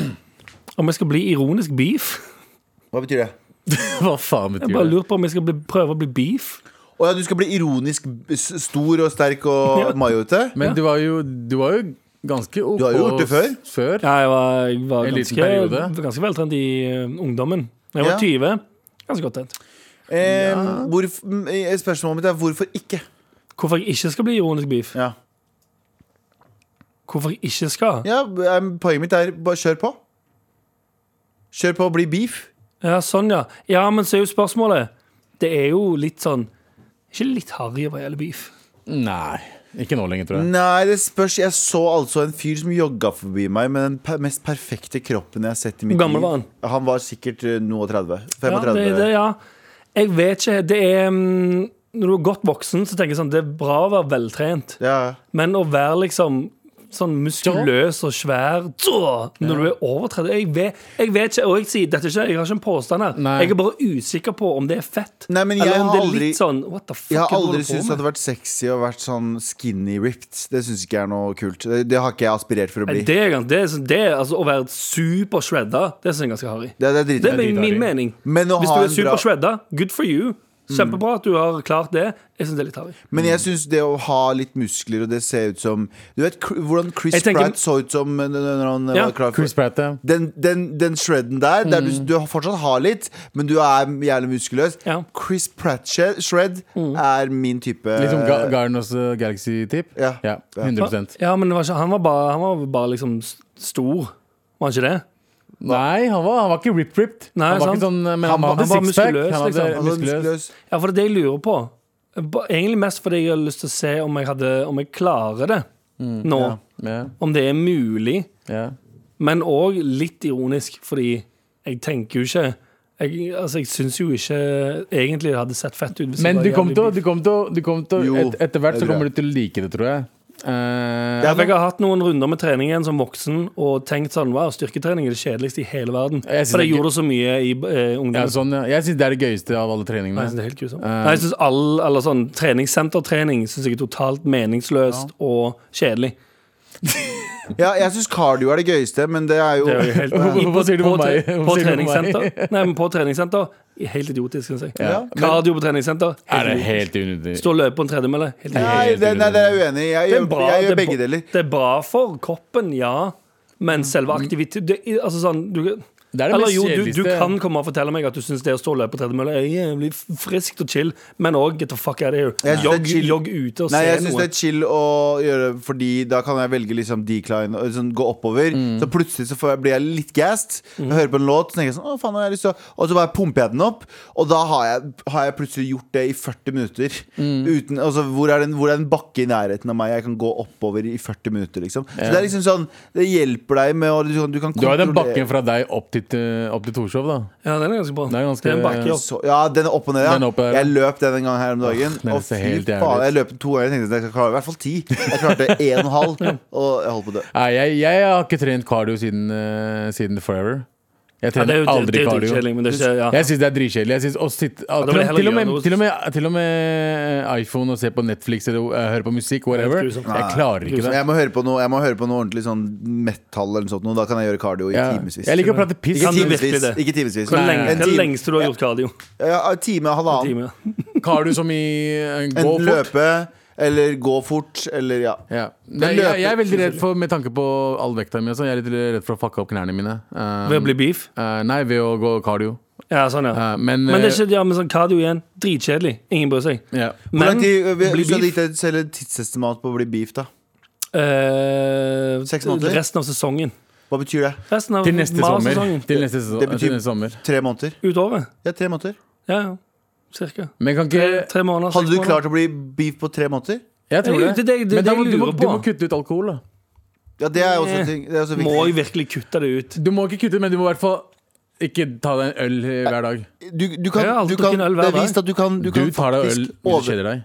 Speaker 2: Om jeg skal bli ironisk beef.
Speaker 3: Hva betyr det?
Speaker 4: Hva faen
Speaker 2: Jeg
Speaker 4: betyr
Speaker 2: bare
Speaker 4: det?
Speaker 2: lurer på om jeg skal bli, prøve å bli beef.
Speaker 3: Å ja, du skal bli ironisk b- s- stor og sterk og
Speaker 2: Ja.
Speaker 3: majoete?
Speaker 4: Men du var jo, du var jo ganske OK
Speaker 3: Du har jo gjort det før.
Speaker 4: s- før.
Speaker 2: Ja, jeg var, jeg var
Speaker 4: En liten
Speaker 2: ganske,
Speaker 4: periode.
Speaker 2: ganske veltrent i eh, ungdommen. Da jeg
Speaker 3: Ja.
Speaker 2: var 20. Ganske godt trent.
Speaker 3: Eh, hvorf- m- eh, spørsmålet mitt er hvorfor ikke?
Speaker 2: Hvorfor jeg ikke skal bli ironisk beef?
Speaker 3: Ja.
Speaker 2: Hvorfor jeg ikke skal?
Speaker 3: Ja, em, Poenget mitt er bare kjør på. Kjør på og bli beef.
Speaker 2: Ja, sånn, ja. Ja, men så er jo spørsmålet Det er jo litt sånn Ikke litt harry hva gjelder beef.
Speaker 4: Nei. Ikke nå lenger, tror jeg.
Speaker 3: Nei, det spørs. Jeg så altså en fyr som jogga forbi meg med den per mest perfekte kroppen jeg har sett i mitt
Speaker 2: Hvor gammel var han?
Speaker 3: Han var sikkert eh, noe og 30.
Speaker 2: Ja,
Speaker 3: 35.
Speaker 2: det, det, ja. Jeg vet ikke. Det er mm, Når du er godt voksen, så tenker jeg sånn Det er bra å være veltrent,
Speaker 3: ja.
Speaker 2: men å være liksom Sånn muskuløs og svær tå, når du er over 30 jeg vet, jeg vet ikke, og jeg sier dette er ikke Jeg har ikke en påstand her.
Speaker 4: Nei.
Speaker 2: Jeg er bare usikker på om det er fett.
Speaker 3: Nei, men jeg
Speaker 2: eller om
Speaker 3: har
Speaker 2: det er
Speaker 3: aldri-
Speaker 2: litt sånn What the fuck?
Speaker 3: Jeg har
Speaker 2: er det du
Speaker 3: aldri
Speaker 2: holder på
Speaker 3: syntes det
Speaker 2: med?
Speaker 3: hadde vært sexy å vært sånn skinny ripped. Det syns ikke jeg er noe kult. Det, det har ikke jeg aspirert for å bli.
Speaker 2: Nei, Det, er gans- det, er sånn- det er, altså, Å være super shredda, det synes jeg er ganske harry.
Speaker 3: Det, det er
Speaker 2: Det er
Speaker 3: dritfett.
Speaker 2: min,
Speaker 4: dritharry.
Speaker 2: min mening.
Speaker 3: Men å
Speaker 2: Hvis
Speaker 3: ha en
Speaker 2: du er super
Speaker 3: bra Mm.
Speaker 2: shredda, good for you. Kjempebra at du har klart det. Jeg syns det er litt harry.
Speaker 3: Men jeg syns det å ha litt muskler og det ser ut som Du vet Cr- hvordan Chris
Speaker 2: Jeg tenker-
Speaker 3: Pratt så ut som eh, når han eh,
Speaker 2: Ja, Mm.
Speaker 3: var klar for
Speaker 4: Chris Pratt, ja.
Speaker 3: den, den, den shredden der, der du, du fortsatt har litt, men du er jævlig muskuløs.
Speaker 2: Ja. Mm.
Speaker 3: Chris Pratt-shred er min type
Speaker 2: sånn
Speaker 4: Liksom Ga Garnos uh, Galaxy-tip?
Speaker 3: Eh. Ja.
Speaker 4: ja. 100
Speaker 2: Ja, men det var ikke, han, var bare, han var bare liksom s- stor, var han ikke det?
Speaker 4: Nei, han var, han var ikke rip-ripped.
Speaker 2: Nei,
Speaker 4: Han var
Speaker 2: sant.
Speaker 4: ikke sånn, men
Speaker 2: Han
Speaker 4: han,
Speaker 2: var-
Speaker 4: hadde
Speaker 2: han var
Speaker 4: sixpack.
Speaker 2: muskuløs,
Speaker 4: Han hadde
Speaker 2: liksom.
Speaker 3: Altså,
Speaker 4: muskuløs.
Speaker 3: muskuløs.
Speaker 2: Ja, for det er det jeg lurer på. Ba- Egentlig mest fordi jeg har lyst til å se om jeg, hadde, om jeg klarer det nå.
Speaker 4: Mm, Ja,
Speaker 2: Om det er mulig.
Speaker 4: ja.
Speaker 2: Men òg litt ironisk, fordi jeg tenker jo ikke Jeg, altså, jeg syns jo ikke egentlig det hadde sett fett ut. hvis jeg
Speaker 4: Men
Speaker 2: var
Speaker 4: du kom
Speaker 2: jævlig
Speaker 4: til, å- du kom til, å- du kom til å-
Speaker 3: Jo,
Speaker 4: et, Etter hvert
Speaker 3: det
Speaker 4: så
Speaker 3: tror
Speaker 4: kommer
Speaker 3: jeg.
Speaker 4: du til å like det, tror jeg. Eh,
Speaker 2: Ja, for jeg har hatt noen runder med trening igjen som voksen og tenkt sånn Wow, styrketrening er det kjedeligste i hele verden.
Speaker 4: Jeg synes
Speaker 2: For jeg
Speaker 4: ikke-
Speaker 2: gjorde det så mye i eh,
Speaker 4: ja,
Speaker 2: ungdommen.
Speaker 4: sånn, ja. Jeg syns det er det gøyeste av alle
Speaker 2: Nei, jeg synes
Speaker 4: treningene.
Speaker 2: det er helt grusomt.
Speaker 4: Eh.
Speaker 2: Nei, jeg synes all, eller sånn treningssentertrening synes jeg er totalt meningsløst og kjedelig.
Speaker 3: Ja, jeg syns cardio er det gøyeste, men det er jo
Speaker 2: Det er jo helt
Speaker 4: Hvorfor- hvorfor sier du på
Speaker 2: tre-
Speaker 4: meg? Hvorfor
Speaker 2: På
Speaker 4: sier du på
Speaker 2: treningssenter.
Speaker 4: meg?
Speaker 2: Nei, men på treningssenter Helt idiotisk, synes jeg.
Speaker 4: Ja.
Speaker 2: Kardio på treningssenter
Speaker 4: Er det
Speaker 2: helt
Speaker 4: helt
Speaker 2: idiotisk.
Speaker 4: unødvendig?
Speaker 2: Stå og løpe på en tredemølle helt idiotisk.
Speaker 3: Nei, det, nei, det er jeg uenig i. Jeg,
Speaker 2: Det er
Speaker 3: gjør-
Speaker 2: bra-
Speaker 3: jeg
Speaker 2: det
Speaker 3: gjør
Speaker 2: er
Speaker 3: begge
Speaker 2: bra-
Speaker 3: deler.
Speaker 2: Det er bra for kroppen, ja. Men selve aktiviteten det, er- Altså sånn du,
Speaker 4: Det er det
Speaker 2: Eller
Speaker 4: mest
Speaker 2: jo, du, du
Speaker 4: kjedeligste.
Speaker 2: kan komme og fortelle meg at du syns det å stå og løpe på tredemølle er jævlig friskt og chill, men òg get the fuck out of here.
Speaker 3: Jeg synes det er
Speaker 2: Jogg,
Speaker 3: chill.
Speaker 2: jogg ute og
Speaker 3: Nei, jeg
Speaker 2: se
Speaker 3: syns
Speaker 2: noe.
Speaker 3: det er chill å gjøre Fordi da kan jeg velge liksom decline og liksom gå oppover.
Speaker 4: Mm.
Speaker 3: Så plutselig så får jeg, blir jeg litt gassed. Jeg hører på en låt, så tenker jeg sånn Å, faen, nå har jeg lyst til å Og så bare pumper jeg den opp, og da har jeg, har jeg plutselig gjort det i 40 minutter.
Speaker 4: Mm.
Speaker 3: Uten, altså, hvor, er det en- hvor er det en bakke i nærheten av meg jeg kan gå oppover i 40 minutter, liksom? Så det er liksom sånn Det hjelper deg med å Du kan, du kan
Speaker 4: Du har den bakken
Speaker 3: kontrollere-
Speaker 4: fra deg opp til, eh, opp til Torshov, da.
Speaker 2: Ja, den er ganske bra.
Speaker 4: Det er ganske-
Speaker 2: det er en bakke opp.
Speaker 3: så, ja, den er opp og ned. Ja.
Speaker 4: Den er opp og ned, ja.
Speaker 3: jeg løp den en gang her om dagen.
Speaker 4: den
Speaker 3: og
Speaker 4: ser
Speaker 3: fy
Speaker 4: helt jævlig
Speaker 3: faen,
Speaker 4: ut.
Speaker 3: jeg løp den to ganger og tenkte at jeg skal klare i hvert fall ti. Jeg klarte én og en halv, og jeg holdt på å dø.
Speaker 4: Nei, jeg, jeg har ikke trent cardio siden, eh, siden forever. Jeg
Speaker 2: Ja, det
Speaker 4: trener
Speaker 2: er jo det,
Speaker 4: aldri
Speaker 2: det er jo
Speaker 4: cardio.
Speaker 2: dritkjedelig, men det er ikke ja.
Speaker 4: Jeg syns det er dritkjedelig. Jeg synes å sitte-
Speaker 2: da må jeg
Speaker 4: til, og
Speaker 2: heller gjøre
Speaker 4: med,
Speaker 2: noe.
Speaker 4: til, og med, til og med eh, iPhone og se på Netflix eller eh, høre på musikk, whatever.
Speaker 2: Det er grusomt.
Speaker 4: Jeg klarer ikke det.
Speaker 3: Jeg må høre på noe, jeg må høre på noe ordentlig sånn metal eller noe sånt. nå. Da kan jeg gjøre cardio i
Speaker 4: Ja.
Speaker 3: timevis.
Speaker 4: Jeg liker å prate piss.
Speaker 3: Ikke
Speaker 2: Kan du virkelig
Speaker 3: timevis.
Speaker 2: det?
Speaker 3: Ikke timevis.
Speaker 2: Hvor
Speaker 4: Nei,
Speaker 2: lenge,
Speaker 4: nei,
Speaker 3: En
Speaker 2: hvor
Speaker 3: time-
Speaker 2: lengst du har gjort kardio?
Speaker 3: Ja, en time og halvannen.
Speaker 2: Time.
Speaker 4: Cardio som i eh, gå
Speaker 3: Enten
Speaker 4: fort.
Speaker 3: løpe eller gå fort eller ja.
Speaker 4: Ja. Nei,
Speaker 3: løper-
Speaker 4: jeg, jeg er veldig redd for, med tanke på all vekta mi, og sånn, jeg er litt redd for å fucke opp knærne mine. Um,
Speaker 2: Ved å bli beef?
Speaker 4: eh, nei, ved å gå cardio.
Speaker 2: Ja, sånn, ja.
Speaker 4: Eh, men
Speaker 2: Men det er ikke ja, men sånn kardio igjen. Dritkjedelig. Ingen bryr seg.
Speaker 4: eh, ja.
Speaker 3: Hvor
Speaker 2: Men
Speaker 3: lang tid øh, vi-
Speaker 2: bli
Speaker 3: Hvis du hadde
Speaker 2: beef
Speaker 3: gitt deg selv et tidsestimat på å bli beef, da?
Speaker 2: eh,
Speaker 3: Seks måneder?
Speaker 2: Resten av sesongen.
Speaker 3: Hva betyr det?
Speaker 2: Resten av
Speaker 4: Til neste sommer.
Speaker 2: marsesongen.
Speaker 4: Til neste,
Speaker 3: Det
Speaker 4: sesong,
Speaker 3: betyr-
Speaker 4: til neste sommer.
Speaker 3: Tre måneder?
Speaker 2: Utover.
Speaker 3: Ja, tre måneder.
Speaker 2: Ja, ja. Cirka.
Speaker 4: Men kan ikke
Speaker 2: Tre, tre
Speaker 3: Hadde
Speaker 2: måneder. seks
Speaker 3: du
Speaker 2: måneder.
Speaker 3: klart å bli beef på tre måneder?
Speaker 4: Jeg tror
Speaker 2: Det er
Speaker 4: det.
Speaker 2: jo- det- det- det-
Speaker 4: Men da
Speaker 2: det jeg
Speaker 4: må, du, må,
Speaker 2: lurer
Speaker 4: du må
Speaker 2: på.
Speaker 4: kutte ut alkohol, da.
Speaker 3: Ja, det er også, ting, det er også
Speaker 2: Må
Speaker 3: viktig.
Speaker 2: jeg virkelig kutte det ut?
Speaker 4: Du må ikke kutte, men du må i hvert fall ikke ta deg en øl eh, hver dag.
Speaker 3: Du, du kan,
Speaker 2: Jeg har alltid
Speaker 3: du kan,
Speaker 2: drukket en øl hver
Speaker 3: det er
Speaker 2: dag.
Speaker 3: vist at du kan,
Speaker 4: Du,
Speaker 3: du kan
Speaker 4: tar deg øl
Speaker 3: faktisk
Speaker 4: hvis du
Speaker 3: over
Speaker 4: kjeder deg.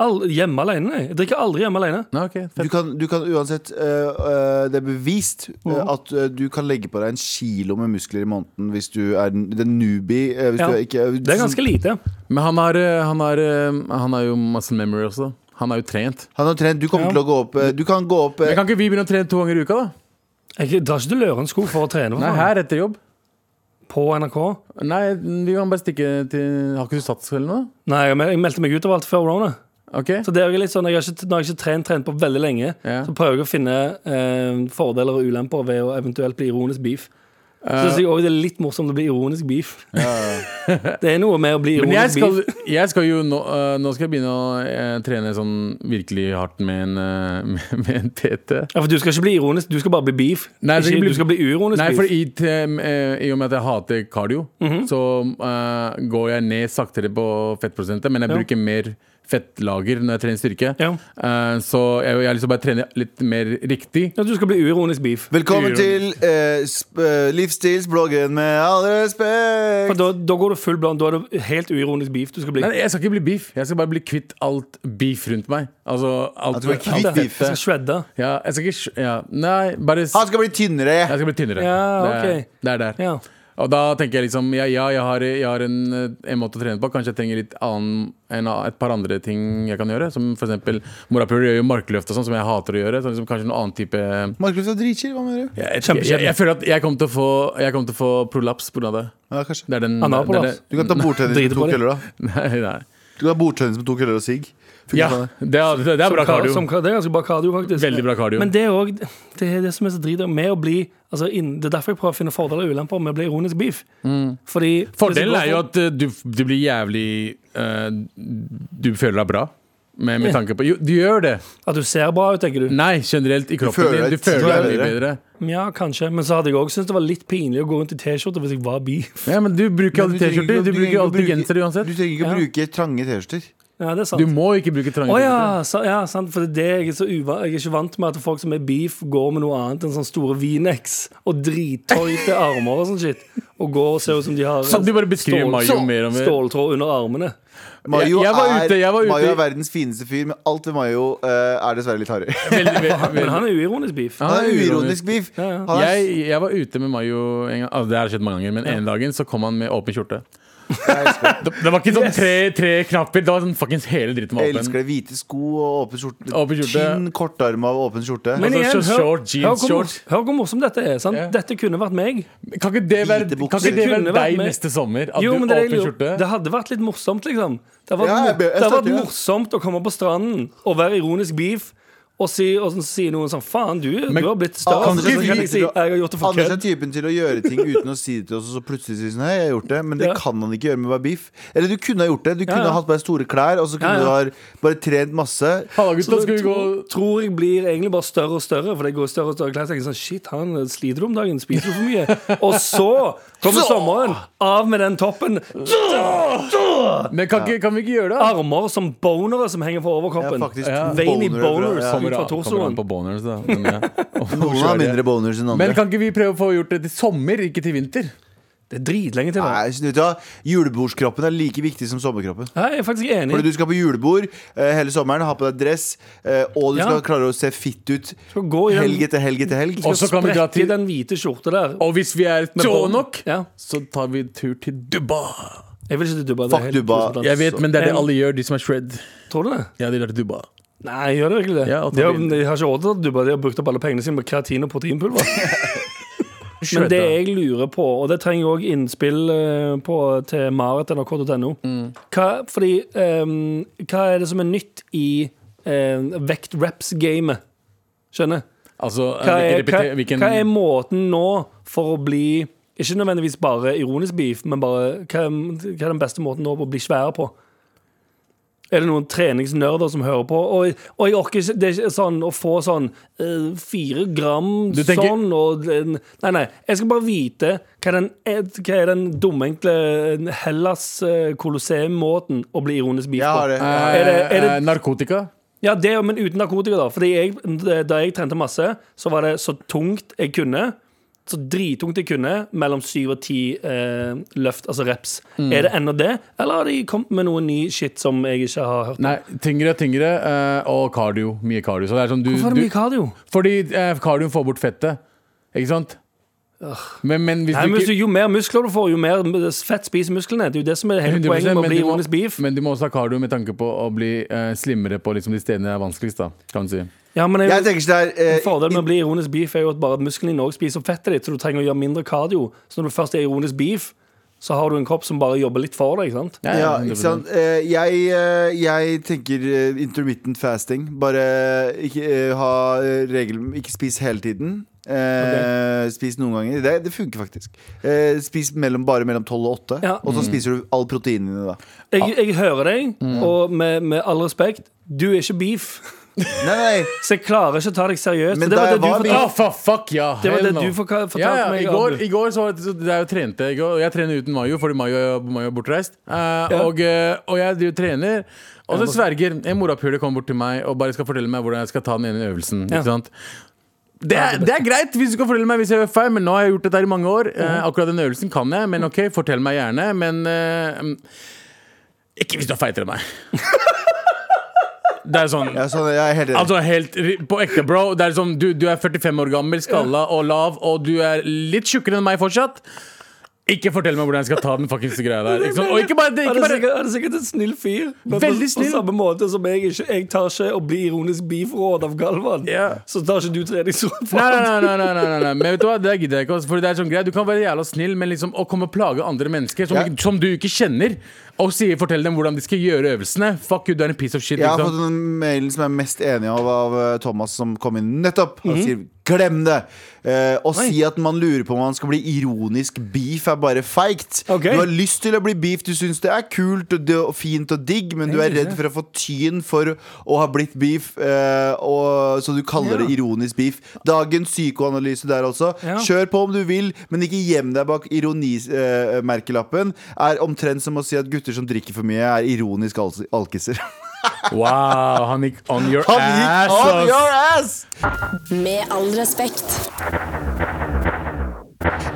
Speaker 2: All, hjemme alene? Nei. Jeg drikker aldri hjemme alene.
Speaker 4: Nei, ok,
Speaker 3: du
Speaker 4: fett.
Speaker 3: kan, du kan uansett øh, øh, Det er bevist øh,
Speaker 2: Mm.
Speaker 3: at øh, du kan legge på deg en kilo med muskler i måneden hvis du er n- den newbie. øh, hvis
Speaker 2: Ja.
Speaker 3: du er ikke,
Speaker 2: Det er ganske lite.
Speaker 4: Men han har, eh, han har, eh, han har jo muscle memory også. Han er jo trent.
Speaker 3: Han har trent. Du kommer
Speaker 2: Ja.
Speaker 3: til å gå opp øh, Du kan gå opp øh,
Speaker 4: Men kan ikke vi begynne å trene to ganger i uka, da?
Speaker 2: Jeg drar ikke til Lørenskog for å trene for
Speaker 4: Nei,
Speaker 2: faen.
Speaker 4: her etter jobb.
Speaker 2: på NRK.
Speaker 4: Nei, vi kan bare stikke til Har ikke du sats eller noe?
Speaker 2: Nei, jeg mel- jeg meldte meg ut av alt før Rona.
Speaker 4: Ok?
Speaker 2: Så det er jo litt sånn, jeg har ikke, Når jeg ikke har trent, trent på veldig lenge,
Speaker 4: Ja.
Speaker 2: så prøver jeg å finne eh, fordeler og ulemper ved å eventuelt bli ironisk beef. Så synes jeg også det er litt morsomt å bli ironisk beef. det er noe med å bli
Speaker 4: Men jeg
Speaker 2: ironisk
Speaker 4: skal,
Speaker 2: beef.
Speaker 4: jeg skal jo nå, eh, nå skal jeg begynne å eh, trene sånn virkelig hardt med en, eh, med, med en TT.
Speaker 2: Ja, for Du skal ikke bli ironisk, du skal bare bli beef.
Speaker 4: Nei, jeg skal
Speaker 2: ikke,
Speaker 4: ikke bli-
Speaker 2: Du skal bli uironisk
Speaker 4: Nei, for
Speaker 2: beef.
Speaker 4: i, t- eh, i og med at jeg hater cardio,
Speaker 2: Mhm.
Speaker 4: så eh, går jeg ned saktere på fettprosentet, men jeg
Speaker 2: Ja.
Speaker 4: bruker mer fettlager når jeg trener styrke.
Speaker 2: Ja.
Speaker 4: Eh, så jeg, jeg har lyst til å bare trene litt mer riktig.
Speaker 2: Ja, du skal bli uironisk beef.
Speaker 3: Velkommen
Speaker 2: Uironisk.
Speaker 3: til øh, sp- øh, livsstilsbloggen med all
Speaker 2: For
Speaker 3: respekt.
Speaker 2: da, da går du full blond. Da er det helt uironisk beef du skal bli.
Speaker 4: Nei, jeg skal ikke bli beef. Jeg skal bare bli kvitt alt beef rundt meg. Altså alt,
Speaker 3: At du er kvitt
Speaker 4: alt
Speaker 3: beef.
Speaker 2: Du skal
Speaker 4: fettet.
Speaker 2: shredde.
Speaker 4: Ja, jeg skal ikke sj- ja. Nei, bare s-
Speaker 3: Han skal bli tynnere.
Speaker 4: Jeg skal bli tynnere.
Speaker 2: Ja,
Speaker 4: det, er,
Speaker 2: ok.
Speaker 4: det er der.
Speaker 2: Ja.
Speaker 4: Og da tenker jeg liksom Ja, ja jeg har, jeg har en, eh, en måte å trene på. Kanskje jeg trenger litt annen, en, a- et par andre ting jeg kan gjøre. Som f.eks. morapuler gjør jo markløft og sånn, som jeg hater å gjøre. Så liksom kanskje noen annen type jeg,
Speaker 3: Markus er dritchill, hva mener du?
Speaker 4: jeg, jeg, jeg, føler at jeg kommer til å få, jeg kommer til å få prolaps pga. det.
Speaker 3: Ja, kanskje
Speaker 4: Det er den
Speaker 2: Analprolaps.
Speaker 4: det er det-
Speaker 3: Du kan ta bordtennis med
Speaker 2: Driter
Speaker 3: to
Speaker 2: på det.
Speaker 3: køller, da.
Speaker 4: Nei, nei.
Speaker 3: Du kan ha bordtennis med to køller og sigg. Funker
Speaker 4: Ja,
Speaker 3: sånn, det.
Speaker 4: det er, det er bra
Speaker 2: Som ka-
Speaker 4: kardio.
Speaker 2: Som, ka- det er ganske bra kardio, faktisk.
Speaker 4: Veldig bra kardio.
Speaker 2: Men det er òg det, er det som er så drit med å bli altså, inn, Det er derfor jeg prøver å finne fordeler og ulemper med å bli ironisk beef. Fordi
Speaker 4: Mm. Fordelen er jo at eh, du, du blir jævlig eh, Du føler deg bra. Med, med
Speaker 2: Ja.
Speaker 4: tanke på Jo, du gjør det!
Speaker 2: At du ser bra ut, tenker du.
Speaker 4: Nei, generelt i kroppen
Speaker 3: føler
Speaker 4: din. Du
Speaker 3: deg
Speaker 4: føler deg
Speaker 3: ti
Speaker 4: mye
Speaker 3: ganger
Speaker 4: bedre.
Speaker 2: Ja, kanskje. Men så hadde jeg òg syntes det var litt pinlig å gå rundt i T-skjorte hvis jeg var beef.
Speaker 4: Ja, men du bruker
Speaker 3: Men
Speaker 4: alltid T-skjorter.
Speaker 3: trenger ikke å-
Speaker 4: Du
Speaker 3: trenger ikke
Speaker 4: bruker
Speaker 3: å
Speaker 4: alltid
Speaker 3: bruke-
Speaker 4: genser
Speaker 3: Du
Speaker 4: uansett.
Speaker 3: trenger ikke å
Speaker 2: Ja.
Speaker 3: bruke trange T-skjorter.
Speaker 2: Ja, det er sant.
Speaker 4: Du må ikke bruke trange
Speaker 2: Å ja,
Speaker 4: T-skjorter.
Speaker 2: sa- ja, sant. For det er det jeg er så uva Jeg er ikke vant med at folk som er beef, går med noe annet enn sånne store Vinex og drittøyte armer og sånn shit. Og går og ser ut som de har
Speaker 4: Sånn, du bare beskriver Mayo mer og mer.
Speaker 2: ståltråd under armene.
Speaker 3: Mayo,
Speaker 4: Jeg- jeg var
Speaker 3: er,
Speaker 4: ute, jeg var ute
Speaker 3: Mayo
Speaker 4: i-
Speaker 3: er verdens fineste fyr, men alt ved Mayo eh, er dessverre litt hardere.
Speaker 4: Veldig, veldig,
Speaker 2: Men han er uironisk beef.
Speaker 4: Ja.
Speaker 3: Han
Speaker 4: er
Speaker 3: er
Speaker 4: uironisk.
Speaker 3: uironisk beef.
Speaker 2: ja.
Speaker 3: Han er,
Speaker 4: Jeg, jeg var ute med Mayo en gang. Altså, det har skjedd mange ganger, men ene dagen så kom han med åpen skjorte. Det, det var ikke sånn tre, tre knapper. Det var sånn fuckings hele dritten
Speaker 3: jeg
Speaker 4: var åpen.
Speaker 3: elsker det. Hvite sko og åpen skjorte.
Speaker 4: Åpen skjorte.
Speaker 3: Tynn kortarma og åpen skjorte.
Speaker 2: Men
Speaker 4: Altså,
Speaker 2: igjen,
Speaker 4: så
Speaker 2: hør,
Speaker 4: short jeans,
Speaker 2: hør, hvor, mor-
Speaker 4: short.
Speaker 2: hør hvor morsom dette er. Sant?
Speaker 4: Ja.
Speaker 2: Dette kunne vært meg.
Speaker 4: Kan ikke det være,
Speaker 3: Hvite
Speaker 4: kan
Speaker 3: bukser.
Speaker 4: ikke det
Speaker 2: Kunne
Speaker 4: være
Speaker 2: vært
Speaker 4: deg
Speaker 2: meg.
Speaker 4: neste sommer? At
Speaker 2: Jo,
Speaker 4: du
Speaker 2: men det,
Speaker 4: har
Speaker 2: er
Speaker 4: åpen
Speaker 2: jo-
Speaker 4: skjorte?
Speaker 2: det hadde vært litt morsomt, liksom. Det hadde vært,
Speaker 3: Ja, jeg be- jeg
Speaker 2: det hadde vært
Speaker 3: støtter det.
Speaker 2: morsomt å komme på stranden og være ironisk beef. Og si, og så sier noen sånn Faen, du,
Speaker 4: Men-
Speaker 2: du har blitt større.
Speaker 3: Anders
Speaker 2: Så
Speaker 3: er,
Speaker 2: kan
Speaker 3: sånn
Speaker 2: jeg si,
Speaker 3: typen
Speaker 2: jeg har gjort
Speaker 3: til å-
Speaker 2: det for
Speaker 3: Anders er
Speaker 2: kødd.
Speaker 3: typen til å gjøre ting uten å si det til oss, og så plutselig si sånn Hei, jeg har gjort det. Men det
Speaker 2: Ja.
Speaker 3: kan han ikke gjøre med å være beef. Eller du kunne ha gjort det. Du kunne
Speaker 2: ja.
Speaker 3: ha hatt på deg store klær, og så kunne
Speaker 2: Ja, ja.
Speaker 3: du ha bare trent masse.
Speaker 4: Halla, gutta,
Speaker 2: Så
Speaker 4: skal vi gå
Speaker 2: tror, tror jeg blir egentlig bare større og større. For det går i større og større klær. Så tenker jeg sånn, shit, han sliter du om dagen? Spiser du for mye? Og så kommer
Speaker 3: Så!
Speaker 2: sommeren. Av med den toppen.
Speaker 4: Men kan, ikke, kan vi ikke gjøre det? da?
Speaker 2: Armer som bonere som henger fra
Speaker 3: Jeg
Speaker 2: overkroppen.
Speaker 3: er faktisk
Speaker 4: Ja.
Speaker 2: Veiny
Speaker 3: boner over-
Speaker 2: boners
Speaker 3: ja.
Speaker 2: ut
Speaker 4: Kommer
Speaker 2: fra
Speaker 4: an- kommer an
Speaker 2: torsoen.
Speaker 4: på boners, da. Men, ja. Og-
Speaker 3: Noen har mindre boners enn andre.
Speaker 4: Men kan ikke vi prøve å få gjort det til sommer, ikke til vinter?
Speaker 2: Det er dritlenge til. det
Speaker 3: Nei, vet du hva? Julebordskroppen er like viktig som sommerkroppen.
Speaker 2: Nei, jeg er faktisk enig.
Speaker 3: Fordi du skal på julebord eh, hele sommeren, ha på deg dress, eh, og du
Speaker 2: Ja.
Speaker 3: skal klare å se fitt ut
Speaker 2: skal gå i den-
Speaker 3: helg etter helg etter helg.
Speaker 4: Og så kan vi dra
Speaker 2: Sprekke
Speaker 4: til
Speaker 2: den hvite skjorta der.
Speaker 4: Og hvis vi er tå nok,
Speaker 2: Ja.
Speaker 4: så tar vi tur til Dubai.
Speaker 2: Jeg vil ikke til Dubai. det er
Speaker 3: Fuck
Speaker 2: helt
Speaker 3: Dubai.
Speaker 2: tusen takk.
Speaker 4: Jeg vet, men det er det
Speaker 2: Men-
Speaker 4: alle gjør, de som er shred.
Speaker 2: Tror du det?
Speaker 4: Ja, de drar til Dubai.
Speaker 2: Nei, gjør det virkelig det?
Speaker 4: Ja, og ta
Speaker 2: de, har,
Speaker 4: bilen.
Speaker 2: de har ikke råd til Dubai. De har brukt opp alle pengene sine på kreatin og proteinpulver. Men det jeg lurer på, og det trenger jeg òg innspill eh, på til marit.nrk.no
Speaker 4: Mm.
Speaker 2: hva, Fordi ehm, hva er det som er nytt i eh, vekt reps-gamet? Skjønner?
Speaker 4: Altså,
Speaker 2: Hva
Speaker 4: hvilken
Speaker 2: er, hva,
Speaker 4: repete- hvilken,
Speaker 2: hva er måten nå for å bli Ikke nødvendigvis bare ironisk beef, men bare hva, er- hva er den beste måten nå på å bli svære på? Er det noen treningsnerder som hører på? Og, og jeg orker ikke Det er ikke sånn å få sånn eh, fire gram
Speaker 4: Du tenker-
Speaker 2: sånn og en- Nei, nei. Jeg skal bare vite hva er den, hva er den dumenkle Hellas eh, Colosseum-måten å bli ironisk beef
Speaker 3: Jeg har
Speaker 2: på?
Speaker 3: det. Jeg har
Speaker 4: Eh,
Speaker 3: det.
Speaker 2: Er det- er det-
Speaker 4: eh, narkotika?
Speaker 2: Ja, det, men uten narkotika, da. Fordi jeg, da jeg trente masse, så var det så tungt jeg kunne. Så drittungt jeg kunne, mellom syv og ti eh, løft, altså reps. Er det ennå det, eller har de kommet med noe ny shit som jeg ikke har hørt?
Speaker 4: Nei, tyngre og tyngre. eh, og cardio. Mye cardio. Så det er sånn, du,
Speaker 2: Hvorfor er det mye
Speaker 4: du,
Speaker 2: kardio?
Speaker 4: fordi eh, cardioen får bort fettet. Ikke sant? Men, men hvis
Speaker 2: Nei, men
Speaker 4: du
Speaker 2: hvis du,
Speaker 4: ikke
Speaker 2: jo mer muskler du får, jo mer fett spiser musklene. Det er jo det som er hele
Speaker 4: 100%,
Speaker 2: poenget med å
Speaker 4: men
Speaker 2: bli
Speaker 4: du må-
Speaker 2: ironisk beef.
Speaker 4: Men du må også ha cardio med tanke på å bli eh, slimmere på liksom, de stedene det er vanskeligst. da, kan du si.
Speaker 2: Ja, men
Speaker 3: Jeg
Speaker 2: jeg,
Speaker 3: tenker ikke det er eh,
Speaker 2: Fordelen med å bli ironisk beef er jo at bare at musklene dine også spiser opp fettet ditt, så du trenger å gjøre mindre kardio. Så når du først er ironisk beef, så har du en kropp som bare jobber litt for deg. ikke sant?
Speaker 4: Ja,
Speaker 3: ja,
Speaker 4: 100%.
Speaker 3: ikke sant? Eh, Jeg, eh, jeg tenker eh, intermittent fasting. Bare ikke eh, ha eh, regel Ikke spis hele tiden. Eh, Spis noen ganger. Det, det funker faktisk. Eh, spis mellom, bare mellom tolv og åtte.
Speaker 2: Ja. Mm.
Speaker 3: Og så spiser du all proteinen din da.
Speaker 2: Jeg, jeg hører deg,
Speaker 4: Mm.
Speaker 2: og med, med all respekt, du er ikke beef.
Speaker 3: Nei, nei,
Speaker 2: Så jeg klarer ikke å ta deg seriøst.
Speaker 3: Men
Speaker 2: og det
Speaker 3: da
Speaker 2: var
Speaker 3: jeg
Speaker 2: det du
Speaker 3: var
Speaker 2: fortalte-
Speaker 4: Ja, Ah, fa- fuck ja.
Speaker 2: Det var
Speaker 4: hell
Speaker 2: det
Speaker 4: no.
Speaker 2: du forka- fortalte
Speaker 4: ja, ja.
Speaker 2: meg,
Speaker 4: I går,
Speaker 2: Abu.
Speaker 4: i går så var det, så det er jo trente jeg, og jeg trener uten Mayo, fordi Mayo, Mayo er bortreist. Eh, og, eh, og jeg driver og trener. Og så sverger en morapule kommer bort til meg og bare skal fortelle meg hvordan jeg skal ta den ene øvelsen.
Speaker 2: Ja.
Speaker 4: Ikke sant? Det er, det er greit hvis du kan fortelle meg hvis jeg gjør feil, men nå har jeg gjort dette her i mange år. Eh, akkurat den øvelsen kan jeg, men ok, fortell meg gjerne. Men eh, mm, ikke hvis du er feitere enn meg. det er sånn
Speaker 3: Ja, sånn, jeg er helt enig.
Speaker 4: Altså helt ri- på ekte, bro. Det er sånn, du, du er 45 år gammel, skalla og lav, og du er litt tjukkere enn meg fortsatt. Ikke fortell meg hvordan jeg skal ta den fuckings greia der. Ikke sant? Og ikke bare det,
Speaker 2: Han
Speaker 4: ikke
Speaker 2: er,
Speaker 4: bare
Speaker 2: sikkert, han er sikkert en snill fyr. Men
Speaker 4: Veldig
Speaker 2: På,
Speaker 4: snill.
Speaker 2: på samme måte som jeg ikke Jeg tar ikke og blir ironisk beef-råd av Galvan,
Speaker 4: Ja.
Speaker 2: så tar ikke du treningsråd fra
Speaker 4: Nei, nei, nei, nei, nei, nei, nei. Men vet du hva, det gidder jeg ikke. ass. Fordi det er sånn greit, Du kan være jævla snill, men liksom å komme og plage andre mennesker som,
Speaker 3: Ja.
Speaker 4: ikke- som du ikke kjenner, og sier, fortell dem hvordan de skal gjøre øvelsene Fuck you, du er en piece of shit.
Speaker 3: Jeg har
Speaker 4: Liksom.
Speaker 3: fått den mailen som jeg er mest enig av av eh, Thomas, som kom inn nettopp. Han
Speaker 2: Mhm.
Speaker 3: sier 'glem det'. Eh, å si at man lurer på om man skal bli ironisk beef, er bare feigt.
Speaker 2: Ok.
Speaker 3: Du har lyst til å bli beef, du syns det er kult og, det, og fint og digg, men du er redd for å få tyn for å ha blitt beef, eh, og, så du kaller det ironisk beef. Dagens psykoanalyse der også.
Speaker 2: Ja.
Speaker 3: Kjør på om du vil, men ikke gjem deg bak ironimerkelappen. er omtrent som å si at gutter som drikker for mye, er ironisk al- alkiser.
Speaker 4: Wow, han gikk on your
Speaker 3: Han
Speaker 4: ass.
Speaker 3: gikk on
Speaker 4: ass.
Speaker 3: your ass!
Speaker 1: Med all respekt.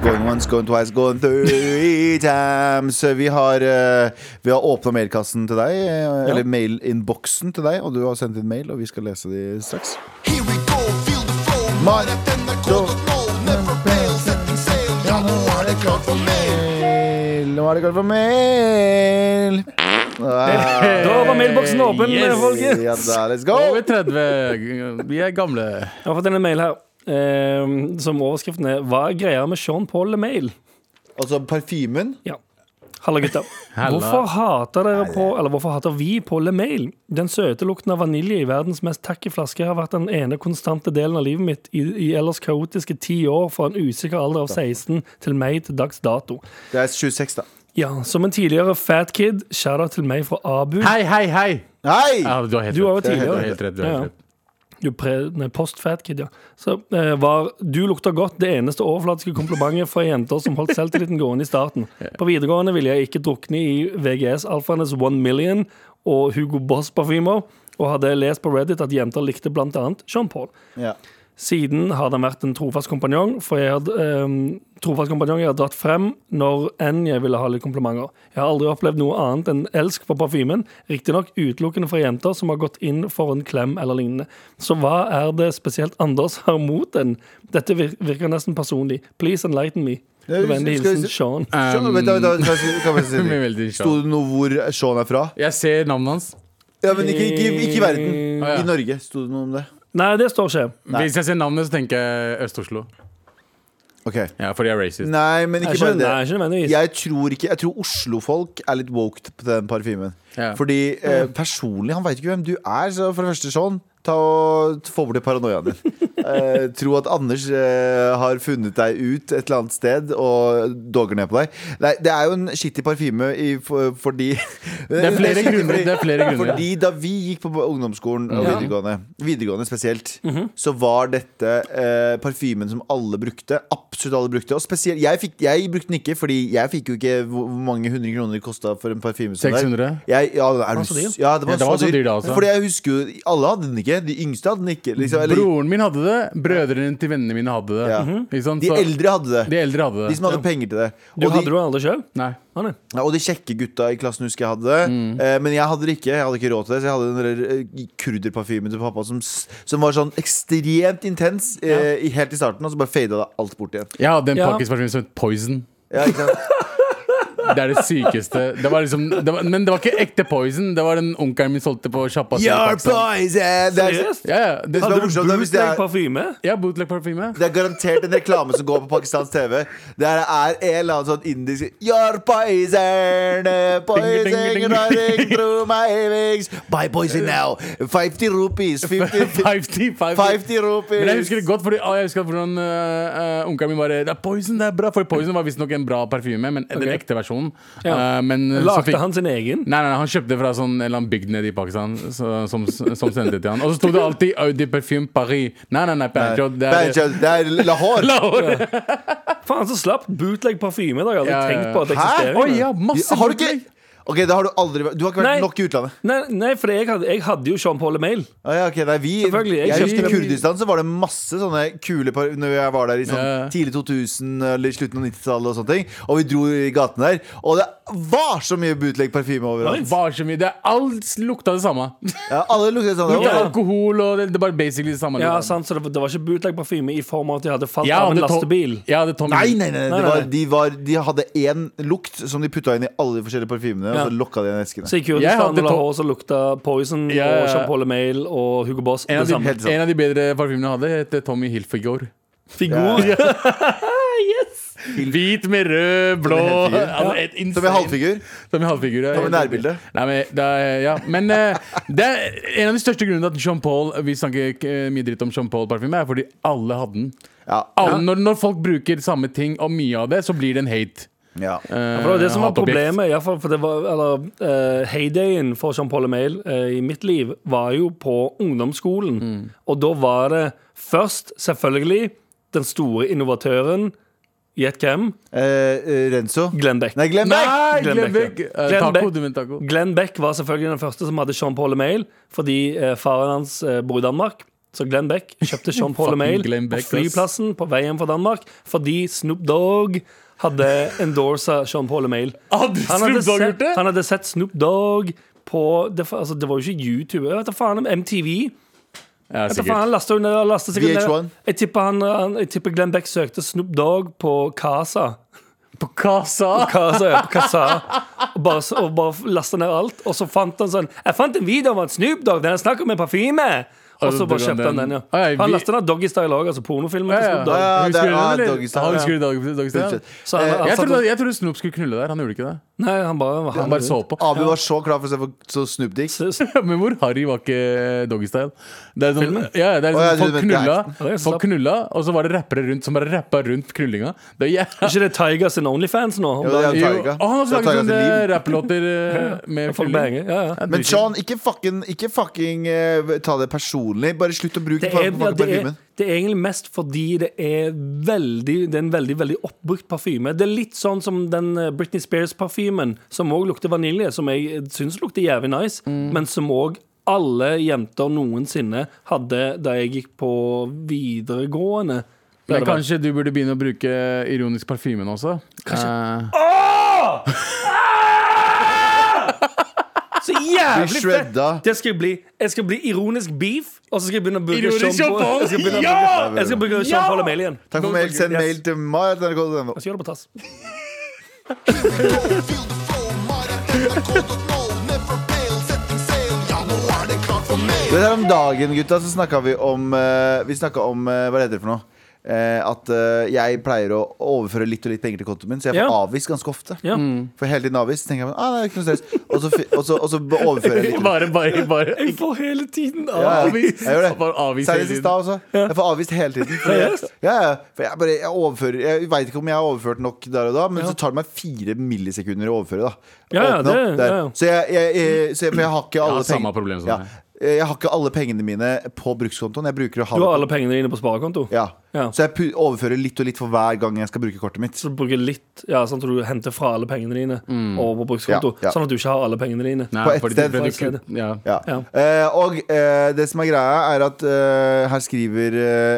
Speaker 3: Going once, going twice, going three times. Vi har, eh, vi har åpna mailkassen til deg, eh, eller mailinnboksen til deg, og du har sendt inn mail, og vi skal lese de straks.
Speaker 5: Here we go, feel the flow.
Speaker 3: Mar-
Speaker 5: Mar at nrk.no. Never fail, setting sail. Ja, nå er det klart for mer.
Speaker 3: Mail, Nå er det klart for mail! Ah,
Speaker 2: Da var mailboksen åpen,
Speaker 4: Yes.
Speaker 2: folket.
Speaker 3: ja da, let's go!
Speaker 4: Over 30. Vi er gamle.
Speaker 2: Jeg har fått en mail her. eh, som overskriften er 'Hva er greia med Sean Paul LeMail?'
Speaker 3: Altså parfymen.
Speaker 2: Ja. Halla, gutta.
Speaker 4: Halla.
Speaker 2: Hvorfor hater dere på, eller hvorfor hater vi på LeMail? Den søte lukten av vanilje i verdens mest tacky flaske har vært den ene konstante delen av livet mitt i, i ellers kaotiske ti år fra en usikker alder av 16 til meg til dags dato.
Speaker 3: Det er 26, da.
Speaker 2: Ja, som en tidligere fat kid, shout-out til meg fra Abu.
Speaker 4: Hei, hei, hei!
Speaker 3: Hei!
Speaker 4: Ja, du har helt
Speaker 2: Du var jo
Speaker 4: rett. Du har
Speaker 2: tidligere.
Speaker 4: helt rett. Du har
Speaker 2: Ja, ja.
Speaker 4: helt rett.
Speaker 2: Du pre, nei, post fat kid, ja. Så eh, var 'du lukter godt' det eneste overflatiske komplimentet fra jenter som holdt selvtilliten gående i starten. På videregående ville jeg ikke drukne i VGS-alfaenes One Million og Hugo Boss-parfymer, og hadde lest på Reddit at jenter likte blant annet Sean Paul.
Speaker 3: Ja.
Speaker 2: Siden har den vært en trofast kompanjong, for jeg hadde, ehm, trofast kompanjong jeg har dratt frem når enn jeg ville ha litt komplimenter. Jeg har aldri opplevd noe annet enn elsk for parfymen, riktignok utelukkende fra jenter som har gått inn for en klem eller lignende. Så hva er det spesielt Anders har mot den? Dette vir- virker nesten personlig. Please enlighten me.
Speaker 3: Ja, vi-
Speaker 2: Med Vennlig
Speaker 3: skal vi se-
Speaker 2: hilsen Sean.
Speaker 3: Sean, vent, da, vent, da, kan jeg- kan jeg si
Speaker 4: Vi er
Speaker 3: det?
Speaker 4: veldig
Speaker 3: Sto det noe hvor Sean er fra?
Speaker 4: Jeg ser navnet hans.
Speaker 3: Ja, men ikke, ikke, ikke i verden.
Speaker 4: Ah, ja.
Speaker 3: I Norge. Sto det noe om det?
Speaker 2: Nei, det står ikke.
Speaker 4: Hvis jeg ser navnet, så tenker jeg Øst-Oslo.
Speaker 3: Ok
Speaker 4: Ja, fordi jeg er racist.
Speaker 3: Nei, men
Speaker 2: Jeg
Speaker 3: ikke bare
Speaker 2: skjønner,
Speaker 3: det.
Speaker 2: nei, ikke nødvendigvis.
Speaker 3: Jeg tror ikke Jeg tror Oslo-folk er litt woke på den parfymen.
Speaker 4: Ja.
Speaker 3: Fordi eh, personlig, han veit ikke hvem du er. Så for det første sånn Ta og t- Få bort paranoiaen din. Eh, tro at Anders eh, har funnet deg ut et eller annet sted og dogger ned på deg. Nei, det er jo en skittig parfyme i, for, fordi Det
Speaker 4: er flere
Speaker 3: skittig
Speaker 4: grunner,
Speaker 3: fordi-
Speaker 4: det er flere grunner.
Speaker 3: Fordi da vi gikk på ungdomsskolen og
Speaker 2: Ja.
Speaker 3: videregående, videregående spesielt,
Speaker 4: Mhm.
Speaker 3: så var dette eh, parfymen som alle brukte. Absolutt alle brukte. Og spesielt, jeg, fikk, jeg brukte den ikke, fordi jeg fikk jo ikke hvor hvor mange hundre kroner det kosta for en parfyme. som der.
Speaker 4: 600?
Speaker 3: Jeg, ja, er du,
Speaker 2: så dyr?
Speaker 3: s- ja, det var,
Speaker 4: Ja, det var så Ah, dyr, det altså.
Speaker 3: Fordi jeg husker jo Alle hadde den ikke. De yngste hadde den ikke. Liksom, eller,
Speaker 4: Broren min hadde det, brødrene til vennene mine hadde det.
Speaker 3: Ja.
Speaker 4: Ikke sant?
Speaker 3: de
Speaker 4: Så-
Speaker 3: eldre hadde det.
Speaker 4: de eldre hadde
Speaker 3: De
Speaker 4: det.
Speaker 3: som hadde penger til det.
Speaker 2: Du
Speaker 3: Og
Speaker 2: hadde
Speaker 3: de,
Speaker 2: du aldri sjøl?
Speaker 4: Nei.
Speaker 3: Ja, og de kjekke gutta i klassen husker jeg hadde det.
Speaker 4: Mm.
Speaker 3: Eh, men jeg hadde det ikke. Jeg hadde ikke råd til det. Så jeg hadde den der, eh, kurderparfymen til pappa som, s- som var sånn ekstremt intens eh, i- helt i starten, og så bare fada det alt bort igjen.
Speaker 4: Jeg hadde en
Speaker 2: Ja.
Speaker 4: pakkis parfyme som het Poison.
Speaker 3: Ja, ikke sant?
Speaker 4: Det er det sykeste. Det var liksom, det var, men det var ikke ekte Poison. Det var den onkelen min solgte på sjappa. til
Speaker 3: Your
Speaker 4: Pakistan.
Speaker 3: poison! Det er,
Speaker 2: Seriøst?
Speaker 4: Ja, ja. Det,
Speaker 3: Hadde
Speaker 2: Hadde
Speaker 3: det
Speaker 2: du
Speaker 3: var morsomt, da, hvis det er-
Speaker 2: bootleg parfyme?
Speaker 4: ja, bootleg parfyme.
Speaker 3: det er garantert en reklame som går på pakistansk TV. Det er er en eller annen sånn indisk Your poison,
Speaker 4: Ding,
Speaker 3: eh,
Speaker 4: ding, ding,
Speaker 3: poison running
Speaker 4: ding.
Speaker 3: through my wings. Buy poison now! 50 rupees. 50,
Speaker 4: 50, 50.
Speaker 3: 50 rupees.
Speaker 4: Men jeg husker det godt, fordi å, jeg husker hvordan øh, øh, onkelen min bare Det er Poison, det er bra! For Poison var visstnok en bra parfyme, men den
Speaker 2: Ok.
Speaker 4: ekte versjonen.
Speaker 2: Ja.
Speaker 4: Øh, men så fikk-
Speaker 2: Lagde han sin egen?
Speaker 4: Nei, nei, nei, han kjøpte det fra sånn en eller annen bygd nede i Pakistan så, som, som sendte det til han. Og så sto det alltid Audi Parfyme Paris. Nei, nei, nei, Panchod. Det er
Speaker 3: Banjo, Eh, det er Lahore.
Speaker 4: Lahore.
Speaker 2: Faen, så slapp bootleg parfyme i dag. Jeg hadde
Speaker 4: Ja, ja,
Speaker 2: tenkt på at det
Speaker 3: ja. Hæ?
Speaker 2: eksisterer.
Speaker 4: Oi, ja, masse
Speaker 3: Har du ikke
Speaker 4: bootleg.
Speaker 3: Ok, da har du aldri vært Du har ikke vært
Speaker 2: Nei.
Speaker 3: nok i utlandet.
Speaker 2: Nei, nei for jeg hadde, jeg hadde jo Sean Paul Email.
Speaker 3: Ah, ja, ok, nei, vi,
Speaker 2: Selvfølgelig, jeg
Speaker 3: jeg
Speaker 2: kjøpte
Speaker 3: husker I
Speaker 2: dem.
Speaker 3: Kurdistan så var det masse sånne kule par Når jeg var der i sånn
Speaker 4: Ja.
Speaker 3: tidlig 2000 eller slutten av 90-tallet, og sånne ting Og vi dro i gatene der, og det var så mye bootleg-parfyme overalt.
Speaker 4: Var så mye, det er alt lukta det samme.
Speaker 3: Ja, alle luktet sånn.
Speaker 4: Lukta
Speaker 2: Ja.
Speaker 4: alkohol og det, det var basically det samme.
Speaker 2: Ja,
Speaker 4: lukta.
Speaker 2: sant, så det, var- det var ikke bootleg-parfyme i form av at de hadde falt
Speaker 4: Jeg
Speaker 2: av en
Speaker 4: hadde Tom-
Speaker 2: lastebil.
Speaker 4: Jeg hadde Tom
Speaker 3: Nei, nei, nei,
Speaker 2: Nei,
Speaker 3: det
Speaker 2: nei,
Speaker 3: var,
Speaker 2: nei.
Speaker 3: de, var, de hadde én lukt som de putta inn i alle de forskjellige parfymene,
Speaker 2: Ja.
Speaker 3: og så lokka de inn i eskene.
Speaker 2: Så i
Speaker 4: Jeg
Speaker 2: Kurdistan
Speaker 4: hadde
Speaker 2: og
Speaker 4: Tom-
Speaker 2: Lahore så lukta Poison
Speaker 4: Ja, ja, ja.
Speaker 2: og Sean Paul Email og Hugo Boss
Speaker 4: En
Speaker 2: det
Speaker 4: av,
Speaker 2: samme.
Speaker 4: de,
Speaker 3: helt sant.
Speaker 4: en av de bedre parfymene jeg hadde, het eh, Tommy Hilfiger.
Speaker 2: Figur.
Speaker 4: Hvit med rød, blå
Speaker 3: Tommy Hilfiger.
Speaker 4: altså, et
Speaker 3: Som en
Speaker 4: insane-
Speaker 3: halvfigur.
Speaker 4: Tommy Halvfigur. ja.
Speaker 3: Tommy Nærbilde.
Speaker 4: Nei, men, det er- ja. men eh, det er en av de største grunnene til at Jean Paul Vi snakker ikke eh, mye dritt om Jean Paul-parfyme, er fordi alle hadde den.
Speaker 3: Ja.
Speaker 4: Alle, når, når folk bruker samme ting og mye av det, så blir det en hate.
Speaker 3: ja.
Speaker 4: eh,
Speaker 2: Ja, for det var det som var
Speaker 4: hatobjekt.
Speaker 2: problemet. i hvert fall, for det var, eller, eh, heydayen for Jean Paul Email eh, i mitt liv var jo på ungdomsskolen.
Speaker 4: Mm.
Speaker 2: Og da var det først, selvfølgelig, den store innovatøren Gjett hvem?
Speaker 3: Eh, eh, Renzo.
Speaker 2: Glenn Beck.
Speaker 3: Nei, glem meg!
Speaker 4: Nei,
Speaker 2: Glenn
Speaker 4: glem vekk!
Speaker 2: Beck, ja.
Speaker 4: Eh,
Speaker 2: Glenn
Speaker 4: Taco,
Speaker 2: Beck.
Speaker 4: du mener taco.
Speaker 2: Glenn Beck var selvfølgelig den første som hadde Jean Paul Email, fordi eh, faren hans eh, bor i Danmark. Så Glenn Beck kjøpte Jean Paul
Speaker 4: Fucking
Speaker 2: Email
Speaker 4: Glenn
Speaker 2: på
Speaker 4: Beck, ass.
Speaker 2: flyplassen på vei hjem fra Danmark fordi Snoop Dogg hadde endorsa Jean Paul Email.
Speaker 4: Hadde Snoop Dogg gjort
Speaker 2: sett,
Speaker 4: det?
Speaker 2: han hadde sett Snoop Dogg på det, fa- altså, det var jo ikke YouTube. Jeg vet da faen om MTV.
Speaker 4: Ja,
Speaker 2: Jeg vet da faen, han lastet jo ned, han lastet sikkert
Speaker 3: VH1.
Speaker 2: ned. Jeg tipper, han, han, jeg tipper Glenn Beck søkte Snoop Dogg på Casa.
Speaker 4: På kassa!
Speaker 2: Kasa, ja, på kassa og bare, og bare lasta ned alt. Og så fant han sånn Jeg fant en video om en Snoop Dogg, den er snakk om en parfyme! Og så bare kjøpte han den, ja.
Speaker 4: Ah, ja,
Speaker 2: For Han
Speaker 4: vi-
Speaker 2: lasta ned Doggy Style òg, altså pornofilmen til Snoop Dogg.
Speaker 3: Ja, det
Speaker 4: Husker
Speaker 3: er-
Speaker 4: du den,
Speaker 3: ja,
Speaker 4: eller?
Speaker 3: Doggy
Speaker 4: Ja,
Speaker 3: Style, ja. Eh,
Speaker 4: Husker du Doggy Doggy Style?
Speaker 3: Bullshit.
Speaker 2: Så han, han
Speaker 3: altså,
Speaker 4: Jeg
Speaker 2: satt
Speaker 4: trodde,
Speaker 2: og-
Speaker 4: jeg trodde Snoop skulle knulle der. Han gjorde ikke det.
Speaker 2: Nei, han bare
Speaker 4: Han bare så på.
Speaker 3: Abu var så klar for å se på så Snoop Dick.
Speaker 4: Men hvor harry var ikke Doggystyle? Det er sånn,
Speaker 2: Filmen?
Speaker 4: ja, det er
Speaker 3: Å,
Speaker 4: sånn,
Speaker 3: ja, du
Speaker 4: folk,
Speaker 3: mente
Speaker 4: knulla,
Speaker 3: acten.
Speaker 2: Ja, det er
Speaker 4: folk
Speaker 2: slapp.
Speaker 4: knulla, og så var det rappere rundt som bare rappa rundt knullinga. Det er jævla-
Speaker 2: Er ikke det Tiger sin Onlyfans nå? Om
Speaker 3: Jo, det er
Speaker 4: jo,
Speaker 3: Taiga.
Speaker 4: og han har også
Speaker 3: Det
Speaker 4: laget
Speaker 3: er Taiga
Speaker 4: sånne
Speaker 3: sitt liv.
Speaker 4: rapplåter eh, med
Speaker 2: Folk
Speaker 4: knulling.
Speaker 2: banger. Ja, ja.
Speaker 3: Men Sean, ikke fucking, ikke fucking eh, ta det personlig. Bare slutt å bruke
Speaker 2: Det er,
Speaker 3: parfymen.
Speaker 2: ja, det, er, det er egentlig mest fordi det er veldig Det er en veldig veldig oppbrukt parfyme. Det er litt sånn som den eh, Britney Spears-parfymen, som òg lukter vanilje, som jeg syns lukter jævlig nice,
Speaker 3: Mm.
Speaker 2: men som òg alle jenter noensinne hadde da jeg gikk på videregående.
Speaker 4: Men
Speaker 2: Der det var-
Speaker 4: kanskje du burde begynne å bruke ironisk parfymen også? Eh,
Speaker 2: Så jævlig fett!
Speaker 3: shredda.
Speaker 2: Det skal jeg bli. Jeg skal bli ironisk beef, og så skal jeg begynne å bruke
Speaker 4: Ironisk
Speaker 2: Sean Paul.
Speaker 4: Sean
Speaker 2: Jeg skal begynne å
Speaker 4: Ja!
Speaker 2: bruke- Jeg skal bruke Sean Paul Emil igjen.
Speaker 3: Takk for mail. Send
Speaker 2: Yes.
Speaker 3: mail til meg.
Speaker 2: Jeg skal gjøre det på tass.
Speaker 5: Feel the flow, might at NRK.no. Never fail, setting sail. Ja, nå er det klart for
Speaker 3: Det
Speaker 5: mail.
Speaker 3: der om dagen, gutta, så snakka vi om eh, Vi snakka om eh, Hva heter det for noe? Eh, at eh, jeg pleier å overføre litt og litt penger til kontoen min, så jeg får
Speaker 2: Ja.
Speaker 3: avvist ganske ofte.
Speaker 2: Ja.
Speaker 3: For hele tiden avvist. Så tenker jeg ah, det er ikke noe stress. Og så, fi- og så, og så overfører jeg litt.
Speaker 4: bare, bare, bare
Speaker 2: Jeg får hele tiden
Speaker 3: Ja, ja.
Speaker 4: Avvist.
Speaker 3: Jeg gjør
Speaker 4: Bare
Speaker 3: det.
Speaker 4: avvist hele
Speaker 3: Seriøst i
Speaker 4: tiden.
Speaker 3: stad også. Jeg får avvist hele tiden. For jeg, ja, ja. For jeg, bare, jeg, overfører, jeg vet ikke om jeg har overført nok der og da, men så tar det meg fire millisekunder å overføre. Da.
Speaker 2: Ja, ja,
Speaker 3: Åpne opp
Speaker 2: det-
Speaker 3: der.
Speaker 2: ja, ja.
Speaker 3: Så jeg, jeg, jeg, så jeg, for jeg har ikke alle
Speaker 4: har samme
Speaker 3: peng-
Speaker 4: problem som deg.
Speaker 3: Jeg har ikke alle pengene mine på brukskontoen. Jeg bruker å ha
Speaker 2: Du
Speaker 3: det på-
Speaker 2: har alle pengene dine på sparekonto?
Speaker 3: ja.
Speaker 2: Ja.
Speaker 3: Så jeg pu- overfører litt og litt for hver gang jeg skal bruke kortet mitt.
Speaker 2: Så du bruker litt, ja, sånn at du henter fra alle pengene dine over på brukskonto.
Speaker 3: Ja, ja.
Speaker 2: Sånn at du ikke har alle pengene dine.
Speaker 4: Nei,
Speaker 3: På ett
Speaker 4: fordi det
Speaker 3: sted,
Speaker 2: på
Speaker 4: ble
Speaker 2: ett sted.
Speaker 4: du- Ja.
Speaker 3: Ja.
Speaker 2: Ja.
Speaker 3: Eh, og eh, det som er greia, er at eh, her skriver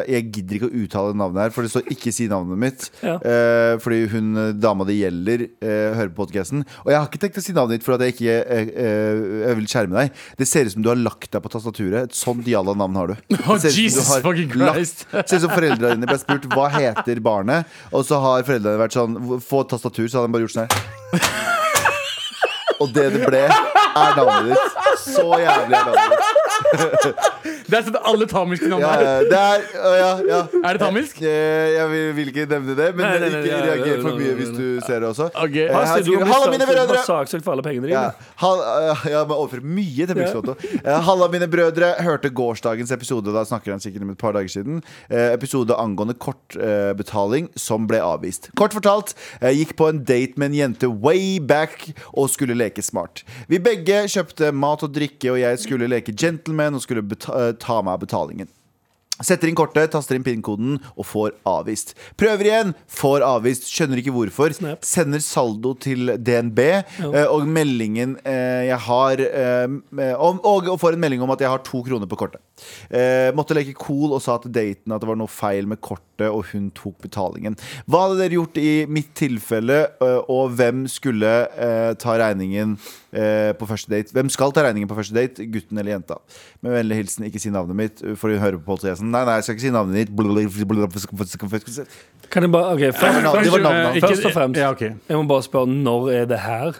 Speaker 3: eh, Jeg gidder ikke å uttale navnet her, for det står 'ikke si navnet mitt'.
Speaker 2: Ja.
Speaker 3: Eh, fordi hun eh, dama det gjelder, eh, hører på podkasten. Og jeg har ikke tenkt å si navnet ditt for at jeg ikke eh, eh, jeg vil skjerme deg. Det ser ut som du har lagt deg på tastaturet. Et sånt jalla navn har du.
Speaker 4: Oh,
Speaker 3: Det ser ut som du
Speaker 4: Jesus
Speaker 3: har
Speaker 4: fucking
Speaker 3: lagt-
Speaker 4: Christ.
Speaker 3: Ser ut som foreldrene dine ble spurt hva heter barnet, og så har foreldrene vært sånn Få et tastatur, så hadde de bare gjort sånn her. Og det det ble, er navnet ditt. Så jævlig er navnet ditt.
Speaker 4: Det er sånn alle tamilske navn
Speaker 3: Ja,
Speaker 4: er.
Speaker 3: ja, det er, å, ja, ja.
Speaker 4: Er det tamilsk?
Speaker 3: Jeg, jeg vil, vil ikke nevne det, men
Speaker 2: Nei, nei, nei,
Speaker 3: ikke
Speaker 2: nei,
Speaker 3: reager for
Speaker 2: nei,
Speaker 3: mye
Speaker 2: nei,
Speaker 3: hvis
Speaker 2: nei.
Speaker 3: du ser det også.
Speaker 4: Ok.
Speaker 3: Eh,
Speaker 2: Her
Speaker 3: her
Speaker 2: ser du
Speaker 3: skriver,
Speaker 2: har
Speaker 3: Halla, mine brødre!
Speaker 2: saksøkt for alle pengene dine.
Speaker 3: Ja, hall, eh, ja, man overfører mye til Brukskonto. Eh, Halla, mine brødre. Hørte gårsdagens episode, da snakker han sikkert om et par dager siden. Eh, episode angående kortbetaling som ble avvist. Kort fortalt, jeg gikk på en date med en jente way back og skulle leke smart. Vi begge kjøpte mat og drikke, og jeg skulle leke gentleman og skulle beta eh, ta meg av betalingen. Setter inn kortet, taster inn PIN-koden og får avvist. Prøver igjen, får avvist. Skjønner ikke hvorfor.
Speaker 2: Snap.
Speaker 3: Sender saldo til DNB, eh, og meldingen eh, jeg har eh, om, og, og får en melding om at jeg har to kroner på kortet. Eh, måtte leke cool og sa til daten at det var noe feil med kortet, og hun tok betalingen. Hva hadde dere gjort i mitt tilfelle, eh, og hvem skulle eh, ta regningen eh, på første date? Hvem skal ta regningen på første date, gutten eller jenta? Med vennlig hilsen, ikke si navnet mitt, eh, for hun hører på Pål Thoresen. Nei, nei, jeg skal ikke si navnet ditt. Blablabla.
Speaker 2: Kan jeg bare, ok, først,
Speaker 3: navnet- det var navnet
Speaker 4: Eh,
Speaker 3: hans.
Speaker 4: ikke-
Speaker 2: Først og fremst.
Speaker 4: Ja, ok.
Speaker 2: Jeg må bare spørre, når er det her?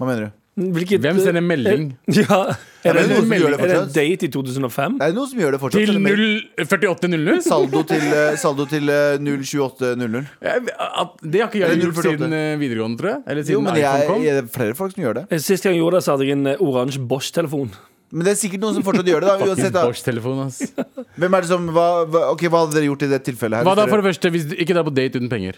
Speaker 3: Hva mener du?
Speaker 2: Hvilket, Eh,
Speaker 4: Hvem sender melding?
Speaker 2: Ja,
Speaker 3: Ja,
Speaker 2: er
Speaker 3: men
Speaker 2: det,
Speaker 3: det er noen som gjør det
Speaker 2: er det en
Speaker 3: fortsatt.
Speaker 2: date i 2005?
Speaker 3: Det er noen som gjør det fortsatt.
Speaker 4: Til
Speaker 3: eller mer?
Speaker 4: 4800?
Speaker 3: Saldo til, eh, saldo til eh, 02800.
Speaker 4: Det har ikke jeg
Speaker 3: Eller
Speaker 4: gjort
Speaker 3: 048.
Speaker 4: siden eh, videregående, tror jeg. Eller
Speaker 3: Jo,
Speaker 4: siden
Speaker 3: men
Speaker 4: iPhone
Speaker 3: jeg,
Speaker 4: kom.
Speaker 3: jeg, det er flere folk som gjør det.
Speaker 2: Sist gang jeg gjorde det, så hadde jeg en eh, oransje Bosch-telefon.
Speaker 3: Men det er sikkert noen som fortsatt gjør det. da uansett, da.
Speaker 4: Bosch-telefon, ass.
Speaker 3: Hvem er det som, hva, hva, ok, hva hadde dere gjort i det tilfellet? her?
Speaker 4: Hva da, for det første? Hvis du ikke dra på date uten penger.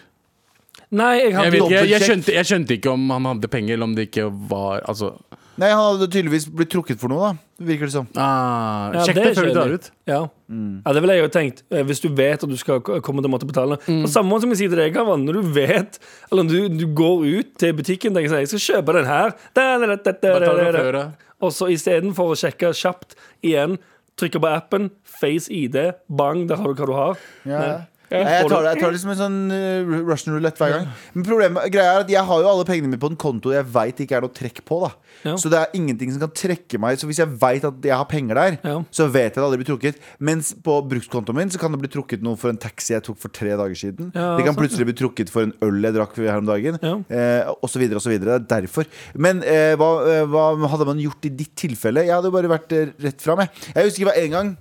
Speaker 2: Nei, jeg
Speaker 4: Jeg,
Speaker 2: hadde
Speaker 4: vet, ikke, jeg, jeg,
Speaker 3: Dobbeltsjekk.
Speaker 4: skjønte, jeg skjønte ikke om han hadde penger, eller om det ikke var Altså
Speaker 3: Nei, Han hadde tydeligvis blitt trukket for noe, da. Virker det som.
Speaker 4: ah,
Speaker 2: Ja,
Speaker 4: Sjekk det,
Speaker 2: det
Speaker 4: før du
Speaker 2: skjønner
Speaker 4: drar
Speaker 2: jeg.
Speaker 4: ut. Mm.
Speaker 2: Ja. ja, det ville jeg jo tenkt. eh, Hvis du vet at du skal k- komme til å måtte betale. På samme måte som jeg sier til deg, Gavan, når du vet Eller når du, du går ut til butikken og sier jeg skal kjøpe den her, da, da, da, da, da,
Speaker 4: Bare ta
Speaker 2: da,
Speaker 4: det
Speaker 2: da,
Speaker 4: fra før
Speaker 2: da.
Speaker 4: av.
Speaker 2: Og så istedenfor å sjekke kjapt igjen, trykker på appen, face ID, bang, der har du hva du har.
Speaker 3: Ja.
Speaker 2: Nei.
Speaker 3: Nei, Jeg tar det, jeg tar det som en sånn eh, Russian roulette hver gang. Men problemet greia er at jeg har jo alle pengene mine på en konto jeg veit ikke er noe trekk på. da
Speaker 2: Ja.
Speaker 3: Så det er ingenting som kan trekke meg. Så hvis jeg veit at jeg har penger der,
Speaker 2: Ja.
Speaker 3: så vet jeg det aldri blir trukket. Mens på brukskontoen min så kan det bli trukket noe for en taxi jeg tok for tre dager siden.
Speaker 2: Ja,
Speaker 3: det kan
Speaker 2: sant.
Speaker 3: plutselig bli trukket for en øl jeg drakk her om dagen.
Speaker 2: Ja.
Speaker 3: Eh, og så videre og så videre. Det er derfor. Men eh, hva, eh, hva hadde man gjort i ditt tilfelle? Jeg hadde jo bare vært eh, rett fram, jeg. Jeg husker det var en gang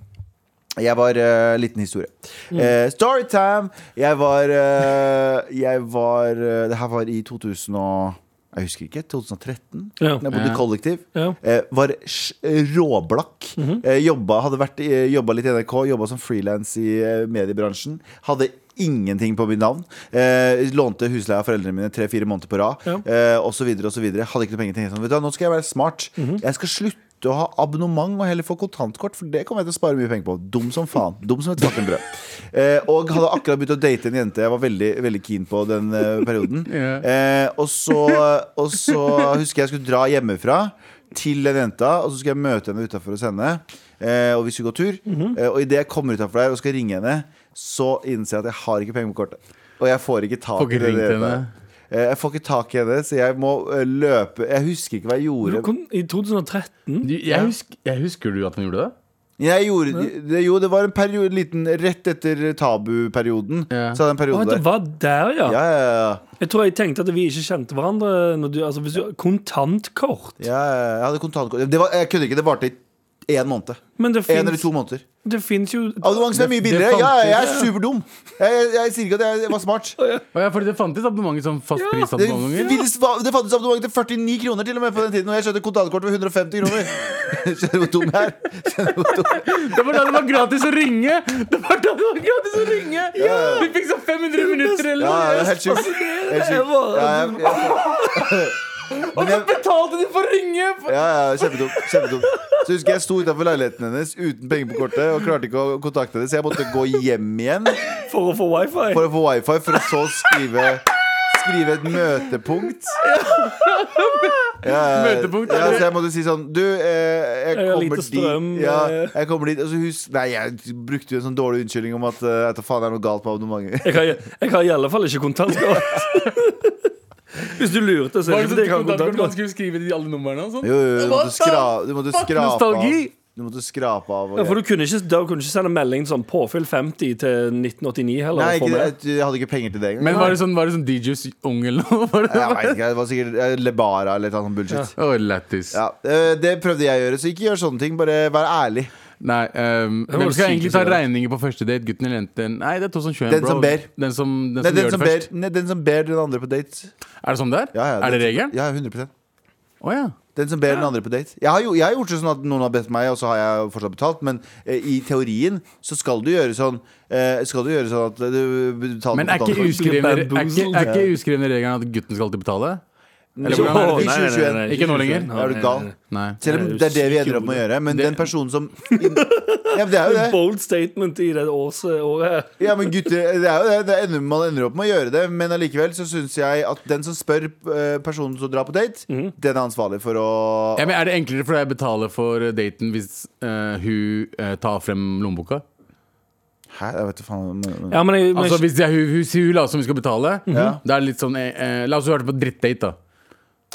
Speaker 3: jeg var eh, liten historie. Eh, Storytime! Jeg var eh, Jeg var eh, Det her var i 2000 og Jeg husker ikke. 2013.
Speaker 2: Ja.
Speaker 3: Jeg bodde i
Speaker 4: Ja.
Speaker 3: kollektiv.
Speaker 2: Ja.
Speaker 3: Eh, var sj- råblakk. eh, jobba, hadde vært, eh, jobba litt i NRK, jobba som frilans i eh, mediebransjen. Hadde ingenting på mitt navn. Eh, lånte husleie av foreldrene mine tre-fire måneder på rad.
Speaker 2: Ja.
Speaker 3: Eh, og så videre og så videre. Hadde ikke noe penger til sånn, vet du, hva, Nå skal jeg være smart. Jeg skal slutte å ha abonnement og heller få kontantkort, for det kommer jeg til å spare mye penger på. Dum som faen. Dum som et fucking brød. Eh, og hadde akkurat begynt å date en jente jeg var veldig, veldig keen på den eh, perioden.
Speaker 4: Ja.
Speaker 3: Eh, og, så, og så husker jeg jeg skulle dra hjemmefra til den jenta, og så skulle jeg møte henne utafor hos henne. Eh, og vi skulle gå tur.
Speaker 4: Mhm.
Speaker 3: eh, og idet jeg kommer utafor der og skal ringe henne, så innser jeg at jeg har ikke penger på kortet. Og jeg får ikke tak
Speaker 4: Får
Speaker 3: i
Speaker 4: ikke
Speaker 3: den
Speaker 4: ringt
Speaker 3: jenta.
Speaker 4: henne.
Speaker 3: Eh, Jeg får ikke tak i henne, så jeg må eh, løpe Jeg husker ikke hva jeg
Speaker 2: Du
Speaker 3: gjorde.
Speaker 2: kom I 2013?
Speaker 4: Du, Jeg, husk, jeg husker du at han gjorde det?
Speaker 3: Jeg gjorde det, jo, det var en periode, liten rett etter tabuperioden.
Speaker 4: Ja.
Speaker 3: Så hadde jeg en
Speaker 2: Å,
Speaker 3: periode
Speaker 2: det
Speaker 3: der.
Speaker 2: var der, ja.
Speaker 3: Ja, ja, ja.
Speaker 2: Jeg tror jeg tenkte at vi ikke kjente hverandre. Når du, altså, hvis du, kontantkort.
Speaker 3: ja, ja, jeg hadde kontantkort. Det var, jeg kunne ikke, det varte i én måned.
Speaker 2: Men det
Speaker 3: En eller
Speaker 2: fins
Speaker 3: to måneder.
Speaker 2: jo
Speaker 3: Abonnementet er mye
Speaker 4: Det- det
Speaker 3: billigere. Ja,
Speaker 4: fantes.
Speaker 3: jeg er superdum. Jeg, jeg, jeg sier ikke at jeg var smart.
Speaker 4: Å ja, fordi det fantes abonnement som fast pris
Speaker 3: Det,
Speaker 4: noen ganger?
Speaker 3: finnes- det fantes abonnement til 49 kroner til og med på den tiden, og jeg skjønte kontantkort for 150 kroner. Skjønner du hvor dum jeg er? Skjønner du hvor dum jeg er?
Speaker 4: Det var da det var gratis å ringe! Det var da det var gratis å ringe! Vi fikk sånn 500 minutter eller
Speaker 3: Ja,
Speaker 4: noe!
Speaker 3: det er helt sjukt. Helt sjukt. Ja, jeg- jeg-
Speaker 4: Og så betalte de for å ringe!
Speaker 3: ja, ja, kjempedum. Kjempedum. Så husker jeg sto utenfor leiligheten hennes uten penger på kortet og klarte ikke å kontakte henne, så jeg måtte gå hjem igjen
Speaker 2: for å få wifi.
Speaker 3: for å få wifi, for å så skrive Skrive et møtepunkt. Ja,
Speaker 4: Møtepunkt,
Speaker 3: Ja,
Speaker 4: eller-
Speaker 3: så jeg måtte si sånn Du, eh, jeg
Speaker 2: Jeg har
Speaker 3: kommer
Speaker 2: lite strøm,
Speaker 3: dit. Ja,
Speaker 2: eh.
Speaker 3: jeg kommer dit Og så husk Nei, jeg brukte jo en sånn dårlig unnskyldning om at eh, jeg tar faen det er noe galt med abonnementet.
Speaker 2: Jeg har, jeg har i alle fall ikke kontantkort. Hvis du lurte, så er
Speaker 4: Var
Speaker 2: det
Speaker 4: det
Speaker 2: fordi jeg har
Speaker 4: sånn kontantkort
Speaker 2: kontantkort.
Speaker 4: skulle skrive de alle numrene og sånn?
Speaker 3: Jo, jo, jo, du
Speaker 4: Hva
Speaker 3: måtte, skra, du måtte
Speaker 4: Fuck,
Speaker 3: skrape av.
Speaker 4: nostalgi!
Speaker 3: Du måtte skrape av. og
Speaker 2: Ja, for
Speaker 3: greier.
Speaker 2: du kunne ikke, da kunne du ikke sende melding sånn påfyll 50 til 1989 heller.
Speaker 3: Nei,
Speaker 2: og få
Speaker 3: ikke, jeg,
Speaker 2: med.
Speaker 3: jeg hadde ikke penger til det engang.
Speaker 4: Men var det sånn, var det sånn DJs ung eller noe? Var det, sånn?
Speaker 3: Jeg vet ikke, det var sikkert eh, Lebara eller noe sånt bullshit.
Speaker 4: Å, lættis.
Speaker 3: Ja. eh, Det prøvde jeg å gjøre, så ikke gjør sånne ting. Bare vær ærlig.
Speaker 4: Nei, ehm,
Speaker 2: var
Speaker 4: hvem skal
Speaker 2: sykt
Speaker 4: egentlig
Speaker 2: å
Speaker 4: ta
Speaker 2: si det.
Speaker 4: regninger på første date? Gutten eller jenten? Nei, det er 2021,
Speaker 3: Den
Speaker 4: bro.
Speaker 3: som ber.
Speaker 4: Den som, den
Speaker 3: Nei,
Speaker 4: som
Speaker 3: den,
Speaker 4: gjør
Speaker 3: som
Speaker 4: det
Speaker 3: ber,
Speaker 4: først.
Speaker 3: nei, den som ber den andre på date.
Speaker 4: Er det sånn der?
Speaker 3: Ja, ja,
Speaker 4: er det
Speaker 3: den-
Speaker 4: regelen?
Speaker 3: Ja, 100
Speaker 4: Å ja.
Speaker 3: Den som ber den andre på date. Jeg har, jo, jeg har gjort det sånn at noen har bedt meg, og så har jeg fortsatt betalt, men eh, i teorien så skal du gjøre sånn eh, Skal du gjøre sånn at du betaler
Speaker 4: Men er ikke
Speaker 3: kontantkort.
Speaker 4: uskrevne, er
Speaker 2: Bamboozled.
Speaker 4: ikke, er ikke uskrevne regelen at gutten skal alltid betale? Eller
Speaker 3: Jo,
Speaker 4: hvordan er det?
Speaker 3: nei, nei, nei, nei.
Speaker 4: Ikke nå lenger.
Speaker 3: Er du gal?
Speaker 4: Nei.
Speaker 3: Selv om det er det vi ender opp med å gjøre. Men
Speaker 4: Det-
Speaker 3: den personen som Ja, men det er jo det.
Speaker 2: Bold statement i det års- året.
Speaker 3: Ja, men gutter, det er jo det. det ender, man ender opp med å gjøre det. Men allikevel så syns jeg at den som spør eh, personen som drar på date, den er ansvarlig for å
Speaker 4: Ja, men er det enklere for deg å betale for daten hvis eh, hun eh, tar frem lommeboka?
Speaker 3: Hæ, jeg vet da faen. men- men-
Speaker 2: Ja, men jeg, men Mhm.
Speaker 4: Altså Hvis det er hun, hun sier hun la oss som vi skal betale,
Speaker 3: Ja.
Speaker 4: da er det litt sånn eh, eh, La oss høre på drittdate, da.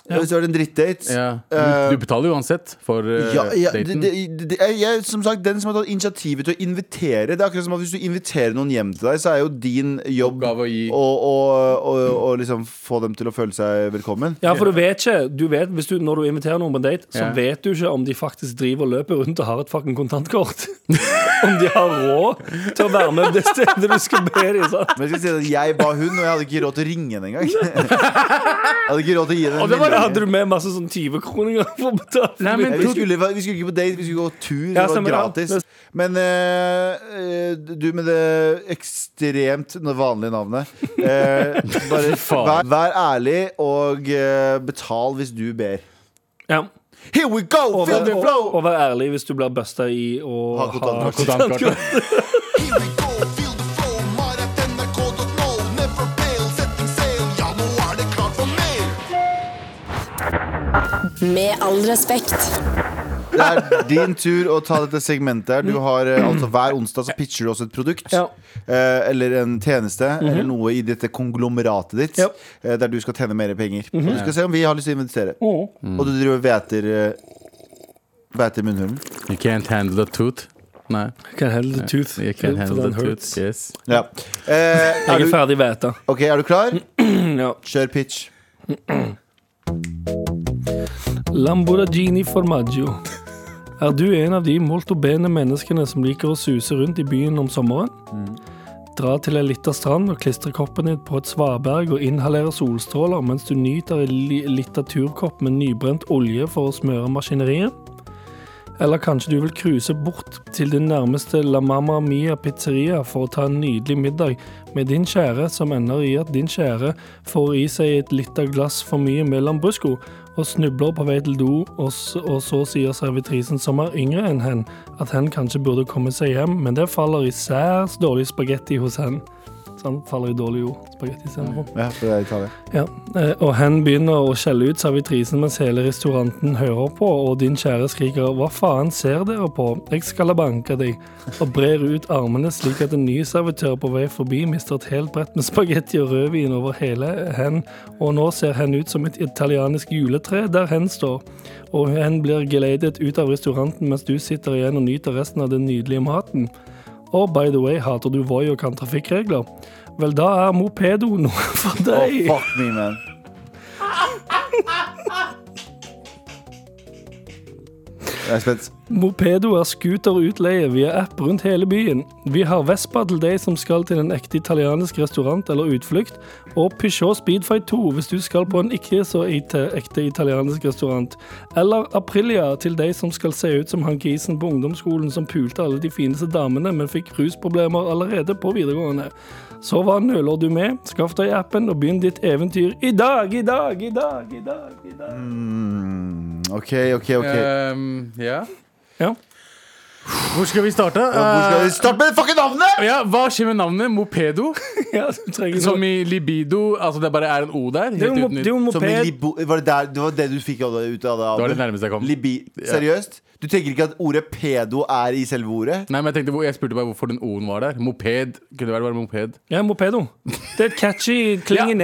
Speaker 3: Hvis du har en drittdate
Speaker 4: Ja.
Speaker 3: Eh,
Speaker 4: Du, du betaler uansett for eh,
Speaker 3: ja, ja, det,
Speaker 4: daten.
Speaker 3: det, det, jeg, jeg, som sagt, Den som har tatt initiativet til å invitere Det er akkurat som at Hvis du inviterer noen hjem til deg, så er jo din jobb å
Speaker 4: Oppgave å gi.
Speaker 3: å- å- å liksom få dem til å føle seg velkommen.
Speaker 2: Ja, for du vet ikke du vet, hvis du, Når du inviterer noen på en date, så
Speaker 4: Ja.
Speaker 2: vet du ikke om de faktisk driver og løper rundt og har et fucking kontantkort. om de har råd til å være med på det stedet du skal be dem. sånn. sant?
Speaker 3: Men jeg skal si at jeg ba hun, og jeg hadde ikke råd til å ringe henne engang. Jeg hadde ikke råd til å gi henne en melding.
Speaker 2: Hadde du med masse sånn 20-kroninger for å betale?
Speaker 4: Nei, men-
Speaker 3: Ja, vi, skulle, vi skulle ikke på date, vi skulle gå tur.
Speaker 2: Ja,
Speaker 3: det var
Speaker 2: stemmer, ja.
Speaker 3: gratis.
Speaker 2: Det-
Speaker 3: Men eh, eh, du med det ekstremt vanlige navnet eh, Bare vær, vær ærlig og eh, betal hvis du ber.
Speaker 2: ja.
Speaker 3: Here we go!
Speaker 2: Og
Speaker 3: Feel
Speaker 2: vær,
Speaker 3: the
Speaker 2: og,
Speaker 3: flow!
Speaker 2: og vær ærlig hvis du blir busta i å
Speaker 3: Ha kontantkort.
Speaker 4: Kontantkort.
Speaker 5: Here we go, feel the flow. Maratnrk.no, never fail. Setting sail. Ja, nå er det klart for mer.
Speaker 6: Med all respekt.
Speaker 3: Det er din tur å ta dette segmentet her. Du har eh, altså Hver onsdag så pitcher du oss et produkt
Speaker 2: Mm. Ja. Mhm.
Speaker 3: eh, eller en tjeneste eller noe i dette konglomeratet ditt
Speaker 2: Ja. Mhm.
Speaker 3: eh, der du skal tjene mer penger. Og Du skal se om vi har lyst til å investere.
Speaker 4: Mm.
Speaker 3: Og du driver og væter eh, Væter munnhulen.
Speaker 4: You can't handle the tooth. Nei.
Speaker 2: Can handle the tooth.
Speaker 4: You can't handle
Speaker 2: Den
Speaker 4: the
Speaker 2: hurts.
Speaker 4: tooth. Yes.
Speaker 3: Ja. Eh, er,
Speaker 2: Jeg er
Speaker 3: du,
Speaker 2: ferdig veta.
Speaker 3: ok, er du klar?
Speaker 2: Ja.
Speaker 3: Kjør pitch.
Speaker 2: Lamborghini Formaggio. Er du en av de moltobene menneskene som liker å suse rundt i byen om sommeren?
Speaker 4: Mm.
Speaker 2: Dra til ei lita strand og klistre koppen din på et svaberg og inhalere solstråler mens du nyter ei li- lita turkopp med nybrent olje for å smøre maskineriet? Eller kanskje du vil cruise bort til din nærmeste La Mamma Mia pizzeria for å ta en nydelig middag med din kjære, som ender i at din kjære får i seg et lite glass for mye med lambrusco og snubler på vei til do, og, s- og så sier servitrisen, som er yngre enn hen, at hen kanskje burde komme seg hjem, men det faller i særs dårlig spagetti hos hen. Sånn faller i dårlig jord. Spagetti sentrum.
Speaker 3: Ja, for det er Italia.
Speaker 2: Ja, eh, og hen begynner å skjelle ut servitrisen mens hele restauranten hører på, og din kjære skriker 'Hva faen ser dere på? Jeg skal banke deg!' og brer ut armene slik at en ny servitør på vei forbi mister et helt brett med spagetti og rødvin over hele hen, og nå ser hen ut som et italiensk juletre der hen står. Og hen blir geleidet ut av restauranten mens du sitter igjen og nyter resten av den nydelige maten. Og by the way, hater du Voi og kan trafikkregler? Vel, da er mopedo noe for
Speaker 3: Oh,
Speaker 2: deg.
Speaker 3: fuck me, man. Jeg er spent.
Speaker 2: Mopedo er scooterutleie via app rundt hele byen. Vi har Vespa til deg som skal til en ekte italiensk restaurant eller utflukt, og Peugeot Speedfight 2 hvis du skal på en ikke så ite- ekte italiensk restaurant. Eller Aprilia til deg som skal se ut som han grisen på ungdomsskolen som pulte alle de fineste damene, men fikk rusproblemer allerede på videregående. Så hva nøler du med? Skaff deg appen og begynn ditt eventyr i dag, i dag, i dag, i dag. i dag.
Speaker 3: OK, OK, OK.
Speaker 4: Ehm, ja.
Speaker 2: Ja.
Speaker 4: Hvor skal vi starte?
Speaker 3: Hvor skal vi starte med det fucking navnet?!
Speaker 4: Eh, ja, hva skjer med navnet? Mopedo?
Speaker 2: Ja, du trenger
Speaker 4: Som
Speaker 2: noe.
Speaker 4: i libido. Altså det bare er en O der. Helt
Speaker 2: Det er jo mo-
Speaker 4: uten
Speaker 2: det er jo
Speaker 3: Som i
Speaker 2: moped.
Speaker 3: libo, var det, der, det var det du fikk av det- ut av det?
Speaker 4: Det var det
Speaker 3: Abu?
Speaker 4: nærmeste jeg kom.
Speaker 3: Libi Seriøst? Du tenker ikke at ordet pedo er i selve ordet?
Speaker 4: Nei, men Jeg tenkte, hvor- jeg spurte bare hvorfor den O-en var der. Moped. Kunne det vært bare moped?
Speaker 2: Ja, Mopedo. Det er et catchy, klingende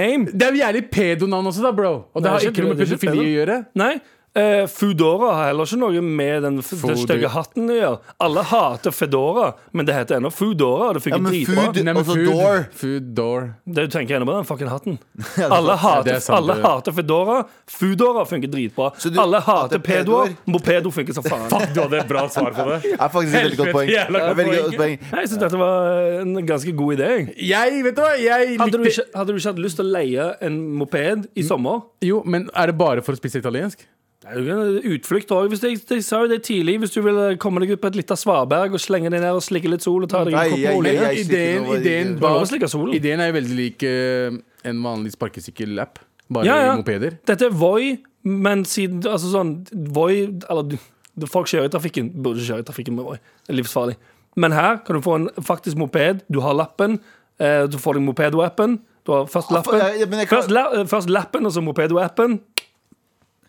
Speaker 4: Ja,
Speaker 2: name.
Speaker 4: Det er jo jævlig pedonavn også, da, bro. Og det
Speaker 2: Nei,
Speaker 4: har
Speaker 2: ikke
Speaker 4: ikke noe med
Speaker 2: det, det er ikke
Speaker 4: pedofili å gjøre.
Speaker 2: Nei. eh, Foodora har heller ikke noe med den, f- den
Speaker 4: Food-
Speaker 2: stygge hatten å gjøre. Alle hater Fedora, men det heter ennå Foodora. og Det
Speaker 3: Ja,
Speaker 2: funker
Speaker 3: men
Speaker 2: dritbra.
Speaker 3: food-
Speaker 4: Nei, men
Speaker 3: Altså, door.
Speaker 4: Food door.
Speaker 2: Det du tenker ennå på den fucking hatten. Alle hater,
Speaker 4: det er sant,
Speaker 2: alle
Speaker 4: det.
Speaker 2: hater Fedora. Foodora funker dritbra.
Speaker 3: du-
Speaker 2: alle
Speaker 3: hater
Speaker 2: hater
Speaker 3: pedoer?
Speaker 2: pedoer. Mopedo funker som faen.
Speaker 4: Du hadde et bra svar på det.
Speaker 3: Det er faktisk et veldig godt poeng.
Speaker 4: Helvete, jævla
Speaker 3: Det er
Speaker 4: godt
Speaker 3: et veldig godt poeng.
Speaker 2: Nei, Jeg syns dette var en ganske god idé. jeg.
Speaker 4: Jeg, vet du hva, jeg
Speaker 2: Hadde du,
Speaker 4: likte
Speaker 2: ikke, hadde du ikke hatt lyst til å leie en moped i sommer?
Speaker 4: Jo, men er det bare for å spise italiensk?
Speaker 2: Det er jo en Utflukt òg. De sa jo det tidlig. Hvis du vil eh, komme deg ut på et lite svaberg og slenge deg ned og slikke litt sol og ta deg en
Speaker 3: Nei,
Speaker 2: kopp med
Speaker 3: jeg-
Speaker 2: olje
Speaker 3: jeg-
Speaker 4: Men
Speaker 3: slikker
Speaker 4: ideen,
Speaker 3: noe-
Speaker 4: ideen,
Speaker 2: Du har lov å
Speaker 4: bak,
Speaker 2: slikke solen.
Speaker 4: ideen er jo veldig lik eh, en vanlig sparkesykkelapp. Bare
Speaker 2: Ja, ja.
Speaker 4: mopeder.
Speaker 2: Dette er Voi, men siden altså sånn, Voi Eller du- du- folk kjører i trafikken. Burde ikke kjøre i trafikken med Voi. Det er livsfarlig. Men her kan du få en faktisk moped. Du har lappen. Eh, du får deg moped-appen. Du har først lappen,
Speaker 3: for- ja, men jeg kan-
Speaker 2: først, la, eh, først lappen og så moped-appen.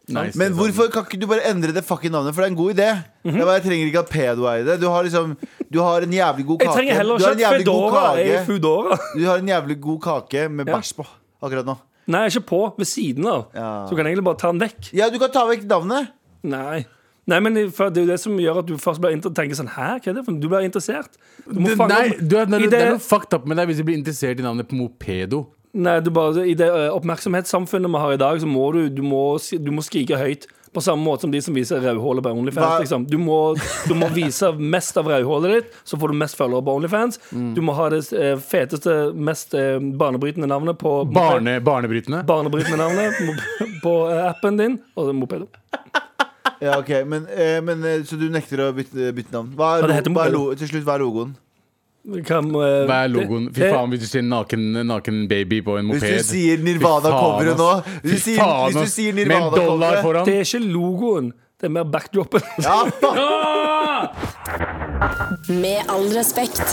Speaker 4: Nice.
Speaker 3: Men hvorfor kan ikke du bare endre det fucking navnet? For det er en god idé.
Speaker 2: Mhm.
Speaker 3: Det er bare, Jeg trenger ikke at pedo er i det. Du har liksom Du har en jævlig god
Speaker 2: Jeg
Speaker 3: kake.
Speaker 2: trenger heller
Speaker 3: du har en
Speaker 2: ikke at
Speaker 3: jævlig god
Speaker 2: Foodora er i
Speaker 3: kake.
Speaker 2: Foodora.
Speaker 3: Du har en jævlig god kake med
Speaker 2: Ja.
Speaker 3: bæsj på akkurat nå.
Speaker 2: Nei, ikke på. Ved siden av.
Speaker 3: Ja.
Speaker 2: Så du kan egentlig bare ta den vekk.
Speaker 3: Ja, du kan ta vekk navnet.
Speaker 2: Nei. Nei, men det for det er jo det som gjør at du først blir inter- tenker sånn Hæ, hva er det for noe? Du blir interessert. Du må
Speaker 4: Du-
Speaker 2: fange
Speaker 4: Nei,
Speaker 2: opp-
Speaker 4: du, er- nei,
Speaker 2: i
Speaker 4: det,
Speaker 2: det-
Speaker 4: er noe fucked up med deg hvis du blir interessert i navnet på mopedo.
Speaker 2: Nei, du bare, I det eh, oppmerksomhetssamfunnet vi har i dag, så må du, du, må, si- du må skrike høyt. På samme måte som de som viser rødhålet på
Speaker 3: Hva-
Speaker 2: OnlyFans. Liksom. Du, må, du må vise mest av rødhålet ditt, så får du mest følgere på OnlyFans.
Speaker 4: Mm.
Speaker 2: Du må ha det eh, feteste, mest eh, barnebrytende navnet på
Speaker 4: Barne, barnebrytende.
Speaker 2: Barnebrytende navnet mo- på eh, appen din. Og mopedo.
Speaker 3: Ja, ok, men, eh, men eh, Så du nekter å bytte, bytte navn? Hva
Speaker 2: Ja,
Speaker 3: er,
Speaker 2: det
Speaker 3: lo-
Speaker 2: heter
Speaker 3: hva er
Speaker 2: Mopedo.
Speaker 3: lo, til slutt, hva er logoen?
Speaker 2: Hva med, eh,
Speaker 4: Hva er logoen? Fy
Speaker 2: det-
Speaker 4: faen, hvis du ser en naken, naken baby på en
Speaker 3: Hvis
Speaker 4: moped.
Speaker 3: du sier Nirvana
Speaker 4: Fy faen,
Speaker 3: kommer jo
Speaker 4: ass.
Speaker 3: nå Hvis du
Speaker 4: Fy
Speaker 3: sier,
Speaker 4: faen,
Speaker 3: hvis du
Speaker 4: ass.
Speaker 3: sier
Speaker 4: Med
Speaker 3: Nirvana
Speaker 4: en dollar
Speaker 3: kommer
Speaker 4: foran.
Speaker 2: Det er ikke logoen. Det er mer backdropen.
Speaker 3: ja, faen.
Speaker 6: Med all respekt.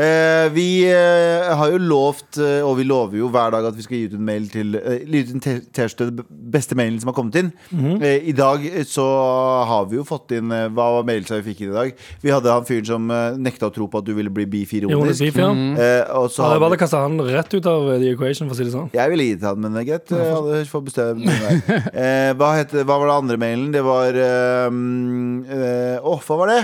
Speaker 3: eh, Vi eh, har jo lovt, eh, og vi lover jo hver dag at vi skal gi ut en mail til eh, gi ut en te- T-skjorte, den beste mailen som har kommet inn. eh, I dag eh, så har vi jo fått inn eh, Hva var mailsa vi fikk inn i dag? Vi hadde han fyren som eh, nekta å tro på at du ville bli
Speaker 2: Jonas
Speaker 3: bifironisk.
Speaker 2: Beef, ja.
Speaker 3: Eh, og så
Speaker 2: Ja,
Speaker 3: har
Speaker 2: jeg
Speaker 3: vi-
Speaker 2: bare kastet han rett ut av eh, The Equation, for å si det sånn.
Speaker 3: Jeg ville gitt han, men det er greit. Jeg hadde fått bestemme meg. eh, hva, het, hva var det andre mailen? Det var eh, mm, eh, Åh, hva var det?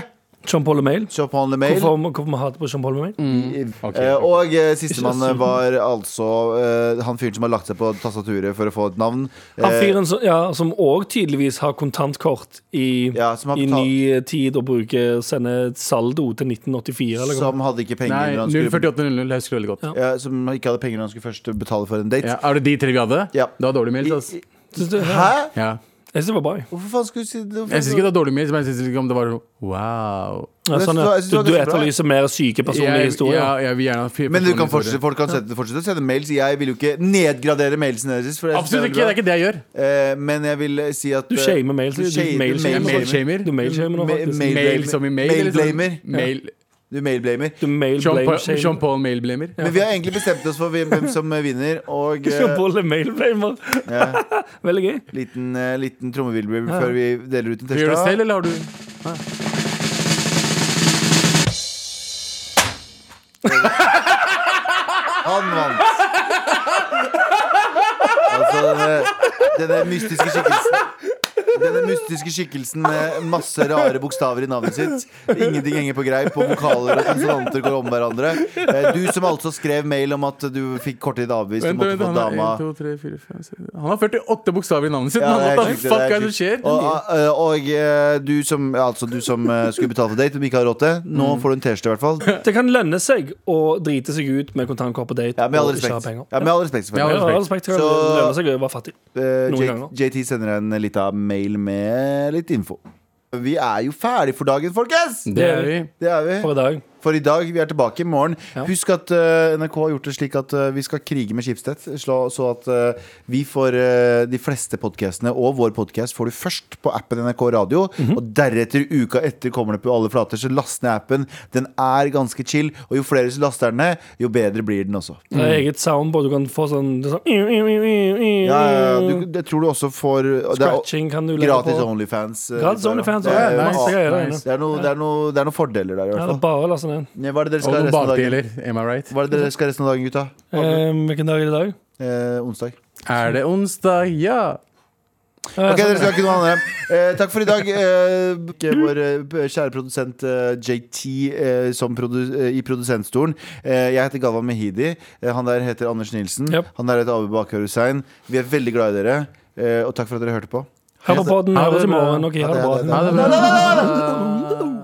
Speaker 2: John Paul Mail.
Speaker 3: Shop on the mail.
Speaker 2: Hvorfor, hvorfor vi hater på Jean Paul Mail?
Speaker 4: Mm. ok.
Speaker 3: Eh, og eh, sistemann var altså eh, han fyren som har lagt seg på tastaturet for å få et navn.
Speaker 2: Han
Speaker 3: Eh,
Speaker 2: fyren som, ja, som òg tydeligvis har kontantkort i,
Speaker 3: Ja, som har
Speaker 2: i
Speaker 3: betalt-
Speaker 2: ny tid og bruker sende saldo til 1984. Eller hva?
Speaker 3: som hadde ikke penger
Speaker 4: Nei,
Speaker 3: når han skulle
Speaker 4: 04800. Jeg husker det veldig godt.
Speaker 2: Ja.
Speaker 3: ja, Som ikke hadde penger når han skulle først betale for en date.
Speaker 4: Ja, er det de tre vi hadde?
Speaker 3: Ja.
Speaker 4: Det var dårlig mails, ass.
Speaker 3: I- i-
Speaker 2: Synes du-
Speaker 3: Hæ?
Speaker 4: Ja.
Speaker 2: Jeg syns det var bra. jeg.
Speaker 3: Hvorfor faen skulle du si det?
Speaker 4: Jeg syns ikke det var dårlig mails, men jeg syns ikke om det var wow.
Speaker 2: Ja,
Speaker 3: Jeg synes det var- jeg
Speaker 2: sånn, ja.
Speaker 3: synes det
Speaker 2: Du,
Speaker 3: var
Speaker 2: du
Speaker 3: ganske bra, jeg.
Speaker 2: etterlyser mer syke personlige
Speaker 4: Jeg,
Speaker 2: historier.
Speaker 4: ja, jeg vil gjerne ha fire
Speaker 3: Men du kan
Speaker 4: personlige
Speaker 3: fortsette,
Speaker 4: historier.
Speaker 3: folk kan sette, fortsette å sende mails. Jeg vil jo ikke nedgradere mailsen deres. for jeg synes
Speaker 4: Absolutt
Speaker 3: er
Speaker 4: ikke, det
Speaker 3: bra.
Speaker 4: er ikke det jeg gjør.
Speaker 3: Eh, men jeg vil si at eh,
Speaker 2: Du shamer mail,
Speaker 3: Du
Speaker 2: du
Speaker 3: shamer
Speaker 2: mail-
Speaker 3: mail-
Speaker 2: mail-
Speaker 3: mail-
Speaker 4: Mailshamer.
Speaker 2: Du mailshamer nå,
Speaker 3: Ma-
Speaker 2: faktisk.
Speaker 3: mail-
Speaker 4: Mail som i mail. eller sånn?
Speaker 3: Mailblamer.
Speaker 4: Mail.
Speaker 3: Du mailblamer.
Speaker 2: Du mail
Speaker 4: Jean
Speaker 2: blame
Speaker 4: Paul-
Speaker 2: shame.
Speaker 4: Jean Paul Mailblamer.
Speaker 3: Men vi har egentlig bestemt oss for hvem hvem som vinner, og eh,
Speaker 2: Jean Paul er mail blamer.
Speaker 3: ja,
Speaker 2: Veldig gøy.
Speaker 3: liten, eh, liten trommevirvel før vi deler ut en
Speaker 4: Du gjør det selv,
Speaker 3: tørsta.
Speaker 4: eller har du
Speaker 3: Han vant. Altså, denne, denne mystiske skikkelsen denne mystiske skikkelsen med masse rare bokstaver i navnet sitt. Ingenting henger på greip, og vokaler og konsonanter går om hverandre. Eh, Du som altså skrev mail om at du fikk kortid avvist og
Speaker 4: Vent,
Speaker 3: måtte
Speaker 4: vent,
Speaker 3: få
Speaker 4: han, har
Speaker 3: dama
Speaker 4: en, to, tre, fire, fem, seks- han har 48 bokstaver i navnet sitt.
Speaker 3: Ja,
Speaker 4: men
Speaker 3: det er
Speaker 4: what the
Speaker 3: helt riktig,
Speaker 4: fuck
Speaker 3: det
Speaker 4: er det
Speaker 3: er helt
Speaker 4: som skjer?
Speaker 3: riktig. Og, og eh, du som, altså, du som eh, skulle betale for date, men ikke har råd til, nå
Speaker 2: Mm.
Speaker 3: får du en T-skjorte i hvert fall.
Speaker 2: Det kan lønne seg å drite seg ut med kontantkort på date
Speaker 3: Ja, med all
Speaker 2: og ikke ha
Speaker 3: respekt.
Speaker 2: penger.
Speaker 3: Ja, med all respekt
Speaker 4: Ja,
Speaker 3: selvfølgelig.
Speaker 2: Ja, all respekt. Det kan
Speaker 3: Så-
Speaker 2: lønne seg å være fattig.
Speaker 3: Eh,
Speaker 2: noen
Speaker 3: J-
Speaker 2: ganger.
Speaker 3: JT sender en lita mail med litt info. Vi er jo ferdig for dagen, folkens!
Speaker 4: Det er vi.
Speaker 3: Det er vi.
Speaker 2: For i dag.
Speaker 3: For i dag. Vi er tilbake i morgen.
Speaker 2: Ja.
Speaker 3: Husk at eh, NRK har gjort det slik at eh, vi skal krige med Schibsted, slå- så at eh, vi får eh, de fleste podkastene og vår podkast får du først på appen NRK Radio,
Speaker 2: Mhm.
Speaker 3: og deretter uka etter kommer det på alle flater. Så last ned appen. Den er ganske chill, og jo flere som laster den ned, jo bedre blir den også.
Speaker 2: Det er eget soundboard. Du kan få sånn, det er sånn
Speaker 3: Ja, ja, ja. Du, jeg tror du også får og det er-
Speaker 2: Scratching kan du legge
Speaker 3: Gratis
Speaker 2: på.
Speaker 3: Onlyfans. eh,
Speaker 2: Gratis
Speaker 3: der, ja.
Speaker 2: Onlyfans,
Speaker 3: Det
Speaker 2: ja,
Speaker 3: er
Speaker 2: nice,
Speaker 3: noe-
Speaker 2: det er det,
Speaker 3: det er noe- det er noe- det er noen fordeler der, i
Speaker 2: Ja,
Speaker 3: hvert
Speaker 2: det
Speaker 3: fall.
Speaker 2: er bare å laste ned.
Speaker 3: Ja, Hva er det dere skal
Speaker 4: Og
Speaker 3: ha
Speaker 4: noen
Speaker 3: resten av dagen?
Speaker 4: bakdeler. Am I right?
Speaker 3: Hva er det dere skal resten av dagen, gutta?
Speaker 2: Eh, Hvilken dag er det i dag?
Speaker 3: Eh, onsdag.
Speaker 4: Er det onsdag? Ja.
Speaker 2: Eh,
Speaker 3: Ok,
Speaker 2: sånn,
Speaker 3: dere skal ikke noe annet. Eh, takk for i dag. Eh, vår eh, kjære produsent eh, JT eh, som produ eh, i produsentstolen. Eh, jeg heter Galvan Mehidi. Eh, han der heter Anders Nilsen.
Speaker 2: Yep.
Speaker 3: Han der heter Abu Bakar Hussein. Vi er veldig glad i dere, eh, og takk for at dere hørte på.
Speaker 2: Hør på podden,
Speaker 4: Ha det
Speaker 2: høres i
Speaker 4: bra.
Speaker 2: morgen. Ok, ha det bra.
Speaker 4: Ha det bra.
Speaker 3: Ha det bra.